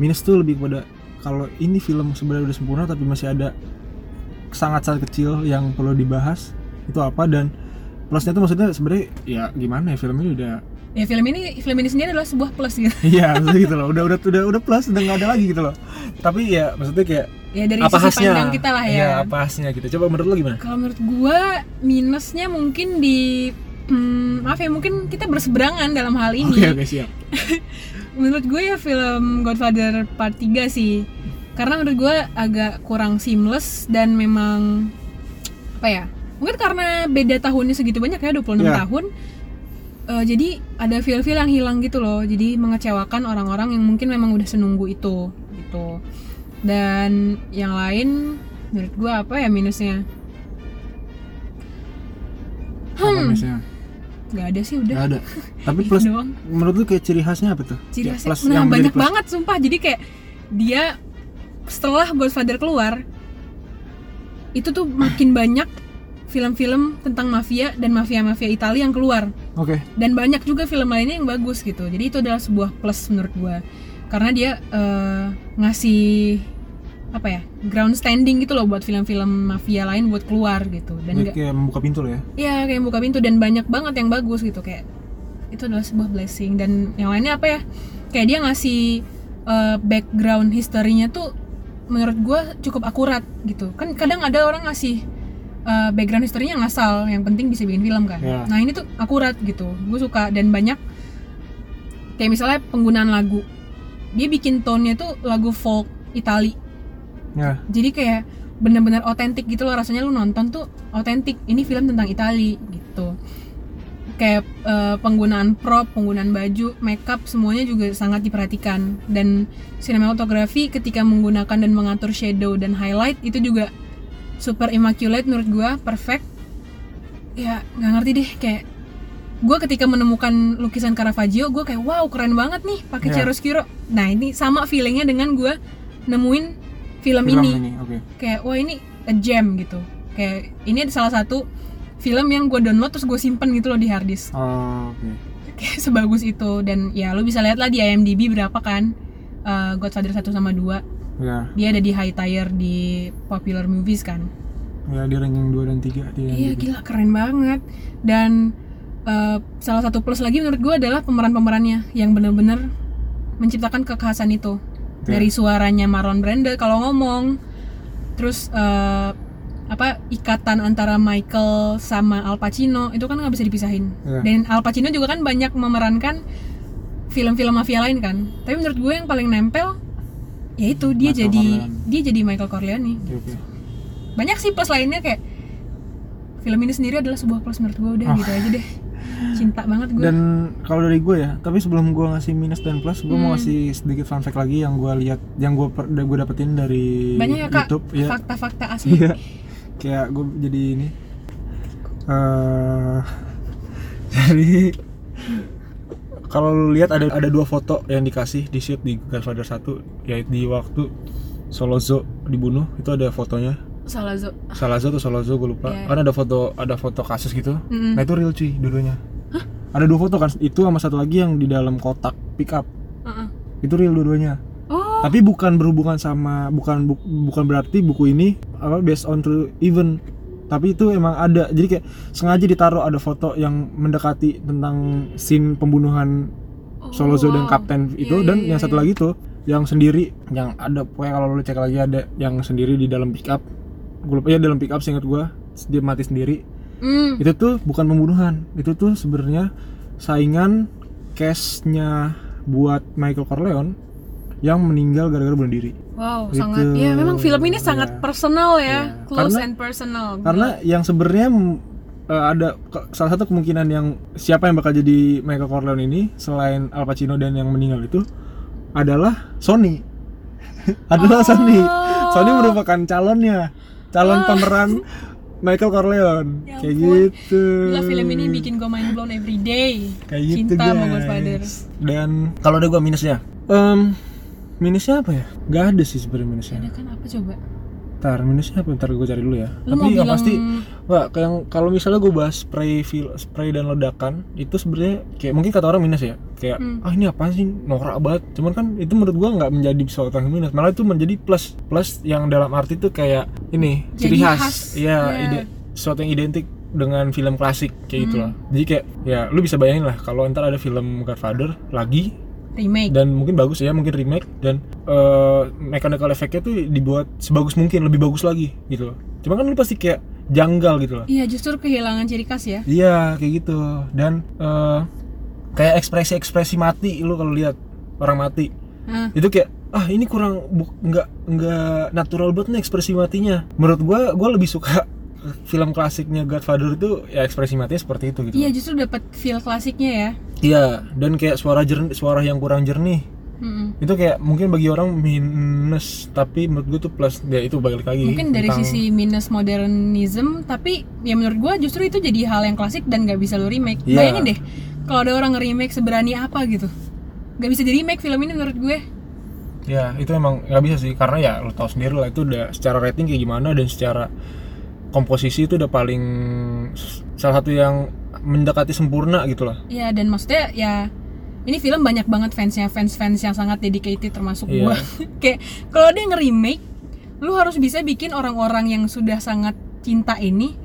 A: minus tuh lebih kepada kalau ini film sebenarnya udah sempurna tapi masih ada sangat sangat kecil yang perlu dibahas itu apa dan plusnya tuh maksudnya sebenarnya ya gimana ya film ini udah
B: ya film ini film ini sendiri adalah sebuah plus gitu
A: Iya, maksudnya gitu loh. Udah udah udah udah plus udah nggak ada lagi gitu loh. Tapi ya maksudnya kayak
B: ya dari
A: apa
B: sisi
A: khasnya?
B: pandang kita lah ya
A: Iya, apa khasnya gitu. Coba menurut lo gimana?
B: kalau menurut gue minusnya mungkin di hmm, maaf ya mungkin kita berseberangan dalam hal ini
A: Oke, oke, siap.
B: menurut gue ya film Godfather Part 3 sih karena menurut gue agak kurang seamless dan memang apa ya mungkin karena beda tahunnya segitu banyak ya 26
A: Iya.
B: tahun Eh, jadi ada feel-feel yang hilang gitu loh jadi mengecewakan orang-orang yang mungkin memang udah senunggu itu gitu dan yang lain menurut gue apa ya minusnya
A: Apa
B: Hmm.
A: minusnya?
B: nggak ada sih udah
A: Nggak ada. Tapi
B: Itu
A: plus
B: doang.
A: menurut lo kayak ciri khasnya apa tuh? Ya,
B: ciri khasnya
A: plus
B: nah,
A: yang menjadi
B: banyak
A: plus.
B: banget sumpah jadi kayak dia setelah Godfather keluar itu tuh makin banyak film-film tentang mafia dan mafia-mafia Italia yang keluar
A: Oke.
B: dan banyak juga film lainnya yang bagus gitu jadi itu adalah sebuah plus menurut gua karena dia eh, ngasih apa ya ground standing gitu loh buat film-film mafia lain buat keluar gitu dan
A: Jadi
B: nggak-
A: kayak membuka pintu lo ya.
B: Iya kayak buka pintu dan banyak banget yang bagus gitu kayak itu adalah sebuah blessing dan yang lainnya apa ya kayak dia ngasih eh, background historinya tuh menurut gua cukup akurat gitu kan kadang ada orang ngasih eh, background historinya ngasal yang penting bisa bikin film kan
A: Iya.
B: nah ini tuh akurat gitu gue suka dan banyak kayak misalnya penggunaan lagu dia bikin tone-nya tuh lagu folk Itali
A: Ya.
B: jadi kayak benar-benar otentik gitu loh rasanya lu nonton tuh otentik ini film tentang Itali gitu kayak eh, penggunaan prop penggunaan baju makeup semuanya juga sangat diperhatikan dan sinematografi ketika menggunakan dan mengatur shadow dan highlight itu juga super immaculate menurut gua perfect ya nggak ngerti deh kayak gua ketika menemukan lukisan Caravaggio gua kayak wow keren banget nih pakai
A: Ya.
B: chiaroscuro nah ini sama feelingnya dengan gua nemuin
A: Film
B: film, ini
A: ini. Oke.
B: kayak wah ini a gem gitu kayak ini ada salah satu film yang gue download terus gue simpen gitu loh di harddisk
A: Oh, Oke.
B: kayak sebagus itu dan ya lu bisa lihat lah di IMDb berapa kan eh, Godfather 1 sama 2
A: Ya.
B: dia ada di high tier di popular movies kan
A: Ya di ranking 2 dan gitu. 3 di
B: iya
A: IMDb.
B: gila keren banget dan eh, salah satu plus lagi menurut gue adalah pemeran-pemerannya yang bener-bener menciptakan kekhasan itu
A: Oke.
B: dari suaranya Marlon Brando kalau ngomong terus eh, apa ikatan antara Michael sama Al Pacino itu kan nggak bisa dipisahin
A: Iya.
B: dan Al Pacino juga kan banyak memerankan film-film mafia lain kan tapi menurut gue yang paling nempel yaitu dia
A: Michael
B: jadi
A: Corleone.
B: dia jadi Michael Corleone
A: Oke, oke.
B: banyak sih plus lainnya kayak film ini sendiri adalah sebuah plus menurut gue udah
A: Oh.
B: gitu aja deh cinta banget gue
A: Dan kalau dari gue ya, tapi sebelum gue ngasih minus dan plus, gue mau
B: Hmm.
A: ngasih sedikit fun fact lagi yang gue lihat, yang gue gue dapetin dari
B: banyak ya kak
A: YouTube. Iya.
B: fakta-fakta asli
A: Iya. Kayak gue jadi ini. eh jadi kalau lu lihat ada ada dua foto yang dikasih di shoot di Godfather 1 yaitu di waktu Solozo dibunuh itu ada fotonya
B: salah zo
A: Salazzo atau Solozo gue lupa
B: Iya. Hmm.
A: kan ada foto ada foto kasus gitu
B: Mm-mm.
A: nah itu real cuy dua-duanya ada dua foto kan itu sama satu lagi yang di dalam kotak pick up
B: Heeh.
A: itu real dua-duanya
B: oh
A: tapi bukan berhubungan sama bukan bu- bukan berarti buku ini apa based on true event tapi itu emang ada jadi kayak sengaja ditaruh ada foto yang mendekati tentang scene pembunuhan
B: Oh.
A: Solozo dan
B: wow.
A: Kapten itu
B: Iya,
A: dan
B: iya,
A: yang
B: iya,
A: satu
B: iya.
A: lagi tuh yang sendiri yang ada pokoknya kalau lu cek lagi ada yang sendiri di dalam pick up gue lupa ya dalam pick up seingat gue dia mati sendiri
B: Hmm.
A: itu tuh bukan pembunuhan itu tuh sebenarnya saingan case-nya buat Michael Corleone yang meninggal gara-gara bunuh diri
B: Wow,
A: Gitu.
B: sangat ya memang film ini
A: Iya.
B: sangat personal ya,
A: Iya.
B: close
A: Karena-
B: and personal.
A: karena yang sebenarnya mm, eh, ada ke- salah satu kemungkinan yang siapa yang bakal jadi Michael Corleone ini selain Al Pacino dan yang meninggal itu adalah Sony
B: Oh.
A: adalah Sony Sony merupakan calonnya calon pemeran Michael Corleone
B: Oh. Ya
A: kayak
B: ampun.
A: gitu
B: Gila film ini bikin gue mind blown every day.
A: kayak gitu
B: Cinta sama Godfather.
A: guys dan kalau ada gua minusnya Em, minusnya apa ya Gak ada sih sebenarnya minusnya
B: Ada kan apa coba?
A: Ntar minusnya apa? Ntar gue cari dulu ya.
B: Lu
A: Tapi
B: mau
A: yang
B: bilang-
A: pasti Wah, kayak yang kalau misalnya gue bahas spray fil- spray dan ledakan itu sebenarnya kayak mungkin kata orang minus ya. Kayak
B: Hmm.
A: ah ini apa sih norak banget. Cuman kan itu menurut gua nggak menjadi sesuatu yang minus, malah itu menjadi plus. Plus yang dalam arti tuh kayak ini
B: Jadi
A: ciri
B: khas.
A: khas. Iya,
B: Iya.
A: ide sesuatu yang identik dengan film klasik kayak
B: Hmm.
A: gitulah. Jadi kayak ya lu bisa bayangin lah kalau ntar ada film Godfather lagi
B: Remake.
A: dan mungkin bagus ya mungkin remake dan eh, mechanical effect-nya tuh dibuat sebagus mungkin lebih bagus lagi gitu loh cuma kan lu pasti kayak janggal gitu loh
B: Iya, justru kehilangan ciri khas ya.
A: iya kayak gitu dan eh, kayak ekspresi ekspresi mati lu kalau lihat orang mati
B: Nah,
A: itu kayak ah ini kurang bu- nggak nggak natural banget nih ekspresi matinya menurut gua gua lebih suka film klasiknya Godfather itu ya ekspresi matinya seperti itu gitu
B: iya justru dapat feel klasiknya ya.
A: iya dan kayak suara jernih suara yang kurang jernih
B: Mm-mm.
A: itu kayak mungkin bagi orang minus tapi menurut gue tuh plus ya itu balik lagi
B: Mungkin dari
A: tentang-
B: sisi minus modernism, tapi ya menurut gue justru itu jadi hal yang klasik dan gak bisa lo remake.
A: Iya.
B: Bayangin deh, kalau ada orang remake seberani apa gitu. Gak bisa di remake film ini menurut gue.
A: ya itu emang nggak bisa sih karena ya lo tau sendiri lah itu udah secara rating kayak gimana dan secara komposisi itu udah paling s- salah satu yang mendekati sempurna gitu lah
B: Ya dan maksudnya ya ini film banyak banget fansnya fans-fans yang sangat dedicated termasuk
A: Iya.
B: gua. Kayak kalau dia nge-remake, lu harus bisa bikin orang-orang yang sudah sangat cinta ini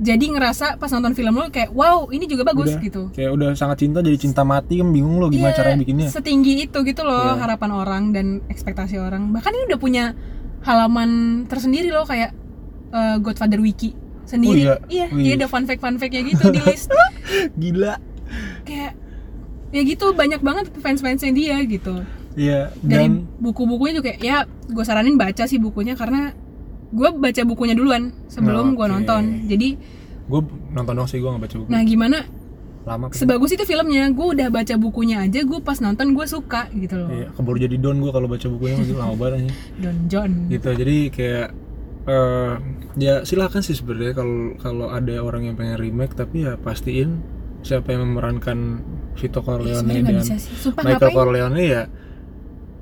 B: jadi ngerasa pas nonton film lu kayak wow ini juga bagus
A: Udah.
B: gitu.
A: kayak udah sangat cinta jadi cinta mati kan bingung lo gimana
B: Iya,
A: caranya bikinnya
B: Setinggi itu gitu
A: Iya.
B: loh harapan orang dan ekspektasi orang. Bahkan ini udah punya halaman tersendiri loh kayak eh, Godfather Wiki sendiri.
A: Oh iya?
B: Iya,
A: Wih.
B: dia ada fun fact fun fact-nya gitu di list.
A: gila
B: kayak ya gitu banyak banget fans-fansnya dia gitu
A: iya
B: dari
A: dan
B: buku-bukunya juga kayak, ya gue saranin baca sih bukunya karena gue baca bukunya duluan sebelum gue
A: Oke.
B: nonton jadi
A: gue nonton dong sih gue nggak baca buku
B: nah gimana
A: lama kan.
B: sebagus itu filmnya gue udah baca bukunya aja gue pas nonton gue suka gitu loh
A: iya keburu jadi don gue kalau baca bukunya masih lama banget anjing.
B: Don John
A: gitu jadi kayak eh ya silakan sih sebenarnya kalau kalau ada orang yang pengen remake tapi ya pastiin siapa yang memerankan Vito Corleone
B: Iya, sebenarnya nggak
A: dan
B: bisa sih sumpah
A: Michael
B: ngapain
A: Corleone ya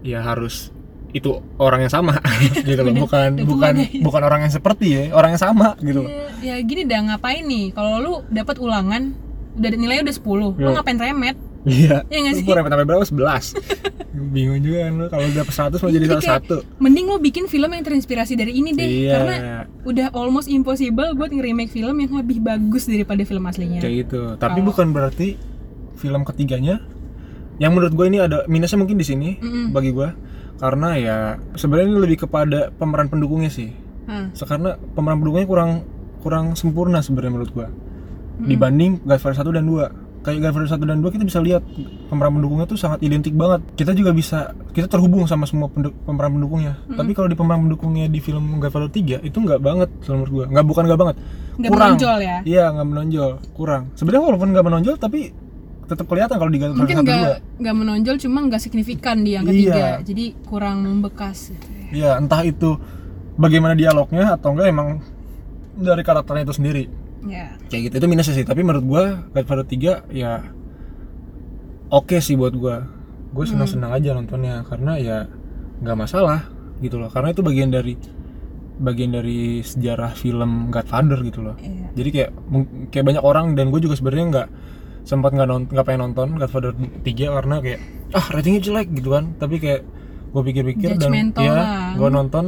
A: ya harus itu orang yang sama gitu loh
B: Udah-
A: bukan
B: udah tua
A: bukan
B: guys.
A: bukan orang yang seperti ya orang yang sama gitu loh
B: ya, ya gini dah ngapain nih kalau lu dapat ulangan udah nilainya udah 10 lu
A: Yo.
B: ngapain remet
A: iya
B: Iya nggak
A: Lu
B: sih?
A: kurang sampai berapa 11 bingung juga kan lu kalau udah 100 mau jadi
B: Jadi
A: salah
B: kayak-
A: satu
B: mending lu bikin film yang terinspirasi dari ini deh karena
A: iya
B: udah almost impossible buat nge-remake film yang lebih bagus daripada film aslinya.
A: kayak gitu tapi
B: Iya. Kalau-
A: bukan berarti film ketiganya yang menurut gue ini ada minusnya mungkin di sini
B: Mm-mm.
A: bagi gue karena ya sebenarnya ini lebih kepada pemeran pendukungnya sih
B: Hah.
A: So, karena pemeran pendukungnya kurang kurang sempurna sebenarnya menurut gue dibanding Godfather 1 dan 2 kayak Godfather 1 dan 2 kita bisa lihat pemeran pendukungnya tuh sangat identik banget kita juga bisa kita terhubung sama semua pendu- pemeran pendukungnya tapi kalau di pemeran pendukungnya di film Godfather 3 itu nggak banget kalau menurut gue nggak bukan nggak banget
B: Nggak
A: kurang
B: menonjol ya.
A: Iya nggak menonjol, kurang. Sebenarnya walaupun nggak menonjol tapi tetap kelihatan kalau diganti
B: Mungkin
A: Iya, satu
B: nggak
A: dua.
B: nggak menonjol cuma nggak signifikan di yang
A: Iya.
B: ketiga. Jadi kurang membekas gitu ya.
A: Iya entah itu bagaimana dialognya atau enggak emang dari karakternya itu sendiri.
B: Ya.
A: Kayak gitu itu minusnya sih. Tapi menurut gua Godfather 3 ya oke sih buat gua. Gue
B: Hmm.
A: senang senang aja nontonnya karena ya nggak masalah gitu loh. Karena itu bagian dari bagian dari sejarah film Godfather gitu loh.
B: Iya.
A: jadi kayak mung- kayak banyak orang dan gue juga sebenarnya nggak sempat nggak nonton nggak pengen nonton Godfather 3 karena kayak ah ratingnya jelek gitu kan tapi kayak gue pikir-pikir dan
B: Judgmental lah.
A: ya gue nonton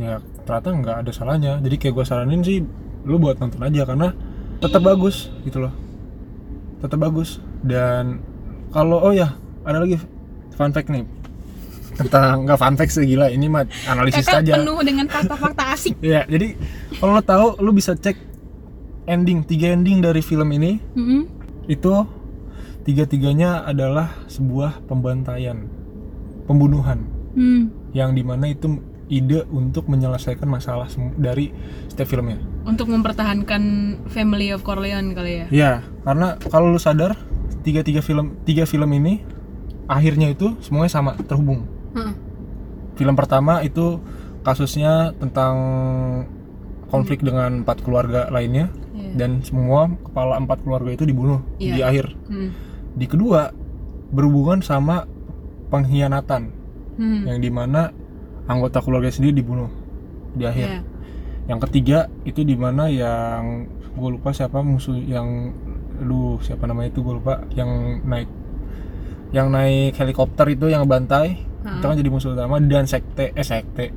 A: ya ternyata nggak ada salahnya jadi kayak gue saranin sih lu buat nonton aja karena tetap bagus gitu loh tetap bagus dan kalau oh ya ada lagi fun fact nih tentang nggak fun fact sih gila ini mah analisis
B: Kakak
A: saja.
B: penuh dengan fakta-fakta asik.
A: Iya, jadi kalau lo tahu lo bisa cek ending tiga ending dari film ini
B: Mm-mm.
A: itu tiga-tiganya adalah sebuah pembantaian, pembunuhan
B: Hmm.
A: yang dimana itu ide untuk menyelesaikan masalah sem- dari setiap filmnya.
B: Untuk mempertahankan family of Corleone kali ya.
A: Iya, karena kalau lu sadar tiga-tiga film tiga film ini akhirnya itu semuanya sama terhubung.
B: Heeh.
A: Film pertama itu kasusnya tentang konflik dengan empat keluarga lainnya
B: Iya.
A: dan semua kepala empat keluarga itu dibunuh
B: Iya.
A: di akhir.
B: Hmm.
A: Di kedua berhubungan sama pengkhianatan
B: Hmm.
A: yang dimana anggota keluarga sendiri dibunuh di akhir.
B: Iya.
A: Yang ketiga itu di mana yang gue lupa siapa musuh yang lu siapa namanya itu gue lupa yang naik yang naik helikopter itu yang bantai
B: Ha.
A: itu kan jadi musuh utama dan sekte eh sekte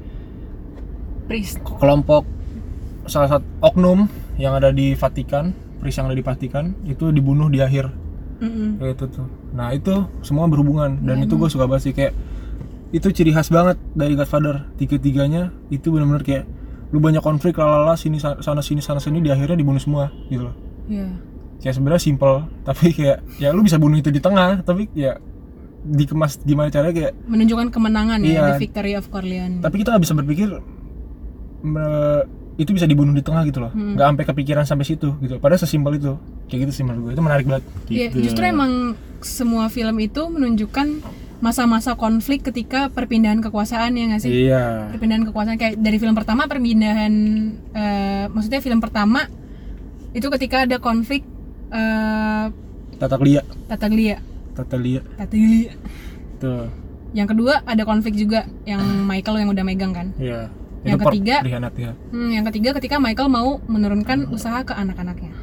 B: Priest.
A: kelompok salah satu oknum yang ada di Vatikan pris yang ada di Vatikan itu dibunuh di akhir
B: Mm-mm.
A: Kayak itu tuh nah itu semua berhubungan dan itu gue suka banget sih kayak itu ciri khas banget dari Godfather tiga tiganya itu benar-benar kayak lu banyak konflik lalala sini sa- sana sini sana sini di akhirnya dibunuh semua gitu loh
B: Iya.
A: kayak sebenarnya simple tapi kayak ya lu bisa bunuh itu di tengah tapi ya dikemas gimana caranya kayak
B: Menunjukkan kemenangan
A: Iya.
B: ya the victory of Corleone.
A: tapi kita nggak bisa berpikir me- itu bisa dibunuh di tengah gitu loh
B: Hmm.
A: nggak sampai kepikiran sampai situ gitu padahal sesimpel itu kayak gitu sih menurut gue itu menarik banget
B: Iya,
A: gitu.
B: justru emang semua film itu menunjukkan masa-masa konflik ketika perpindahan kekuasaan ya nggak sih?
A: iya
B: perpindahan kekuasaan kayak dari film pertama perpindahan eh, maksudnya film pertama itu ketika ada konflik eh
A: Tataklia
B: Tataglia
A: Tatalia
B: Tataglia
A: tuh
B: yang kedua ada konflik juga yang Michael yang udah megang kan
A: Iya.
B: Yang
A: Itu per-
B: ketiga-
A: pengkhianat, ya.
B: Hmm, yang ketiga ketika Michael mau menurunkan usaha ke anak-anaknya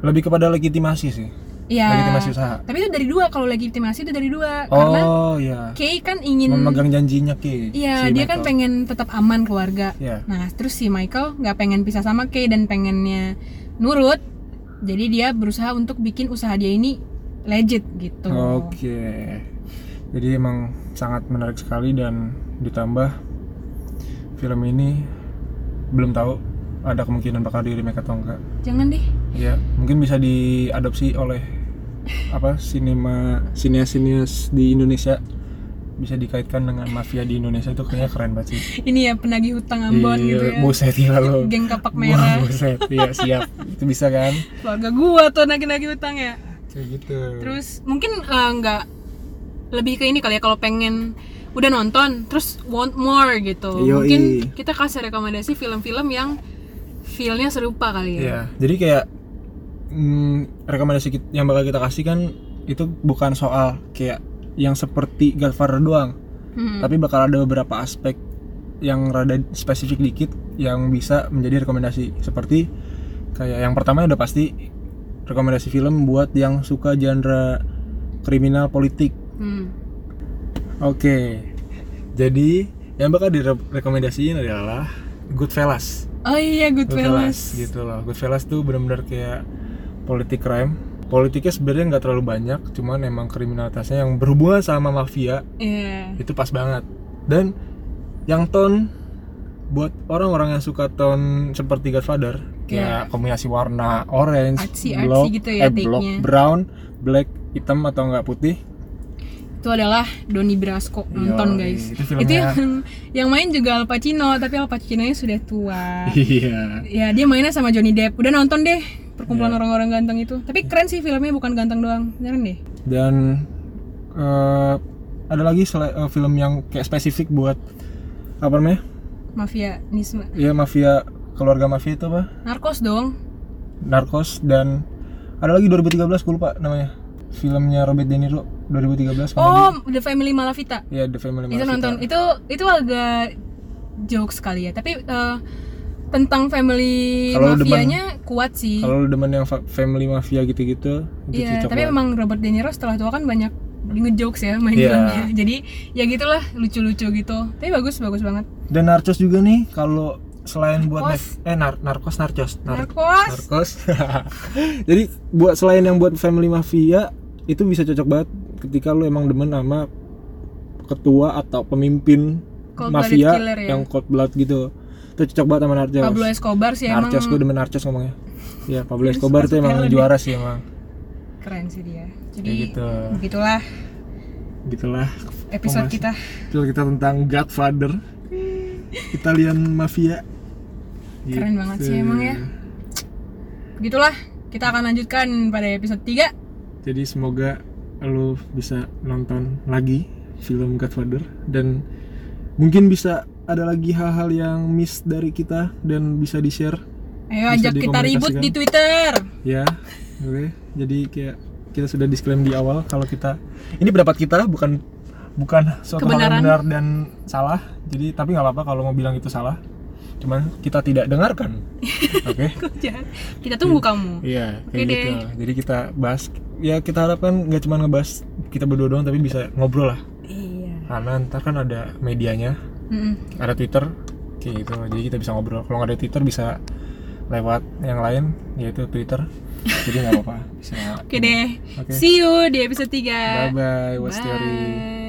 A: Lebih kepada legitimasi sih.
B: Iya
A: Legitimasi usaha.
B: tapi itu dari dua kalau legitimasi itu dari dua karena
A: Oh iya.
B: Kay kan ingin
A: Memegang janjinya Ki.
B: Iya,
A: si
B: dia
A: Michael.
B: kan pengen tetap aman keluarga.
A: Iya.
B: Nah, terus si Michael nggak pengen pisah sama Kay dan pengennya nurut. Jadi dia berusaha untuk bikin usaha dia ini legit gitu.
A: Oke. Jadi emang sangat menarik sekali dan ditambah film ini belum tahu ada kemungkinan bakal di remake atau enggak.
B: Jangan deh.
A: Ya, mungkin bisa diadopsi oleh apa sinema sinias-sinias di Indonesia bisa dikaitkan dengan mafia di Indonesia itu kayaknya keren banget sih.
B: Ini ya penagih hutang Ambon
A: Iya,
B: gitu ya.
A: Buset gila lo.
B: Geng kapak
A: Wah,
B: merah.
A: buset. Iya, siap. Itu bisa kan?
B: Keluarga gua tuh nagih-nagih hutang ya.
A: Kayak gitu.
B: Terus mungkin eh, nggak lebih ke ini kali ya kalau pengen udah nonton terus want more gitu.
A: Yoi.
B: Mungkin kita kasih rekomendasi film-film yang feel-nya serupa kali ya.
A: Iya, jadi kayak mm, rekomendasi kit- yang bakal kita kasih kan itu bukan soal kayak yang seperti Godfather doang,
B: Hmm.
A: tapi bakal ada beberapa aspek yang rada spesifik dikit yang bisa menjadi rekomendasi seperti kayak yang pertama udah pasti rekomendasi film buat yang suka genre kriminal politik
B: Hmm.
A: Oke, jadi yang bakal direkomendasiin adalah Goodfellas.
B: Oh iya Goodfellas.
A: gitu loh. Goodfellas tuh benar-benar kayak politik crime. Politiknya sebenarnya nggak terlalu banyak, cuman emang kriminalitasnya yang berhubungan sama mafia
B: Iya.
A: itu pas banget. Dan yang tone buat orang-orang yang suka tone seperti Godfather kayak kombinasi warna orange,
B: Iya. Artsy-artsy
A: block,
B: gitu ya
A: eh, block,
B: take-nya.
A: brown, black, hitam atau enggak putih
B: Itu adalah Doni Brasco nonton
A: Yoi,
B: guys.
A: itu filmnya-
B: yang yang main juga Al Pacino, tapi Al Pacino-nya sudah tua.
A: iya
B: ya, dia mainnya sama Johnny Depp. Udah nonton deh perkumpulan
A: Iya.
B: orang-orang ganteng itu. Tapi keren sih filmnya bukan ganteng doang. Beneran deh.
A: dan eh, ada lagi sele- eh, film yang kayak spesifik buat apa namanya
B: Mafia Nisma.
A: ya mafia keluarga mafia itu apa
B: Narkos dong.
A: narkos dan ada lagi 2013 gue lupa namanya filmnya Robert De Niro 2013 komedi.
B: Oh, The Family Malavita.
A: ya The Family Malavita.
B: Itu nonton. Itu itu agak jokes sekali ya. Tapi eh, tentang family
A: Kalau demen-
B: mafianya kuat sih.
A: kalau lu demen yang fa- family mafia gitu-gitu itu
B: Iya,
A: cocok
B: tapi
A: banget.
B: memang Robert De Niro setelah tua kan banyak ngejokes ya main
A: Iya.
B: filmnya. Jadi ya gitulah lucu-lucu gitu. Tapi bagus bagus banget.
A: dan narcos juga nih kalau selain buat
B: Narcos.
A: nef- eh nar- narkos narcos nar-
B: Narkos.
A: narkos jadi buat selain yang buat family mafia itu bisa cocok banget ketika lu emang demen sama ketua atau pemimpin
B: Cold-blooded
A: mafia
B: killer ya.
A: yang cold blood gitu itu cocok banget sama Narcos
B: Pablo Escobar sih emang
A: Narcos gue demen Narcos ngomongnya ya Pablo Escobar tuh emang
B: Masuk ya?
A: juara sih emang
B: keren sih dia. Jadi
A: kayak gitu
B: begitulah
A: gitulah
B: episode
A: Kompas.
B: kita.
A: Terus kita tentang Godfather Italian Mafia Gitu.
B: Keren banget sih emang ya. Begitulah kita akan lanjutkan pada episode 3.
A: Jadi semoga lo bisa nonton lagi film Godfather Dan mungkin bisa ada lagi hal-hal yang miss dari kita Dan bisa di-share
B: Ayo
A: Bisa
B: ajak kita ribut di Twitter.
A: ya Oke Jadi kayak kita sudah disclaim di awal kalau kita ini pendapat kita bukan bukan suatu hal yang
B: Kebenaran.
A: benar dan salah jadi tapi nggak apa-apa kalau mau bilang itu salah cuman kita tidak dengarkan oke
B: Jangan. kita tunggu kamu.
A: Iya, kayak
B: Oke deh.
A: gitu. Jadi kita bahas ya kita harapkan nggak cuma ngebahas kita berdua doang tapi bisa ngobrol lah.
B: Iya.
A: Karena ntar kan ada medianya,
B: Mm-mm.
A: ada Twitter kayak gitu. Jadi kita bisa ngobrol. Kalau nggak ada Twitter bisa lewat yang lain yaitu Twitter. Jadi nggak apa-apa. Bisa.
B: Oke deh.
A: Oke.
B: See you di episode
A: Bye
B: 3.
A: bye. What's theory?
B: Bye.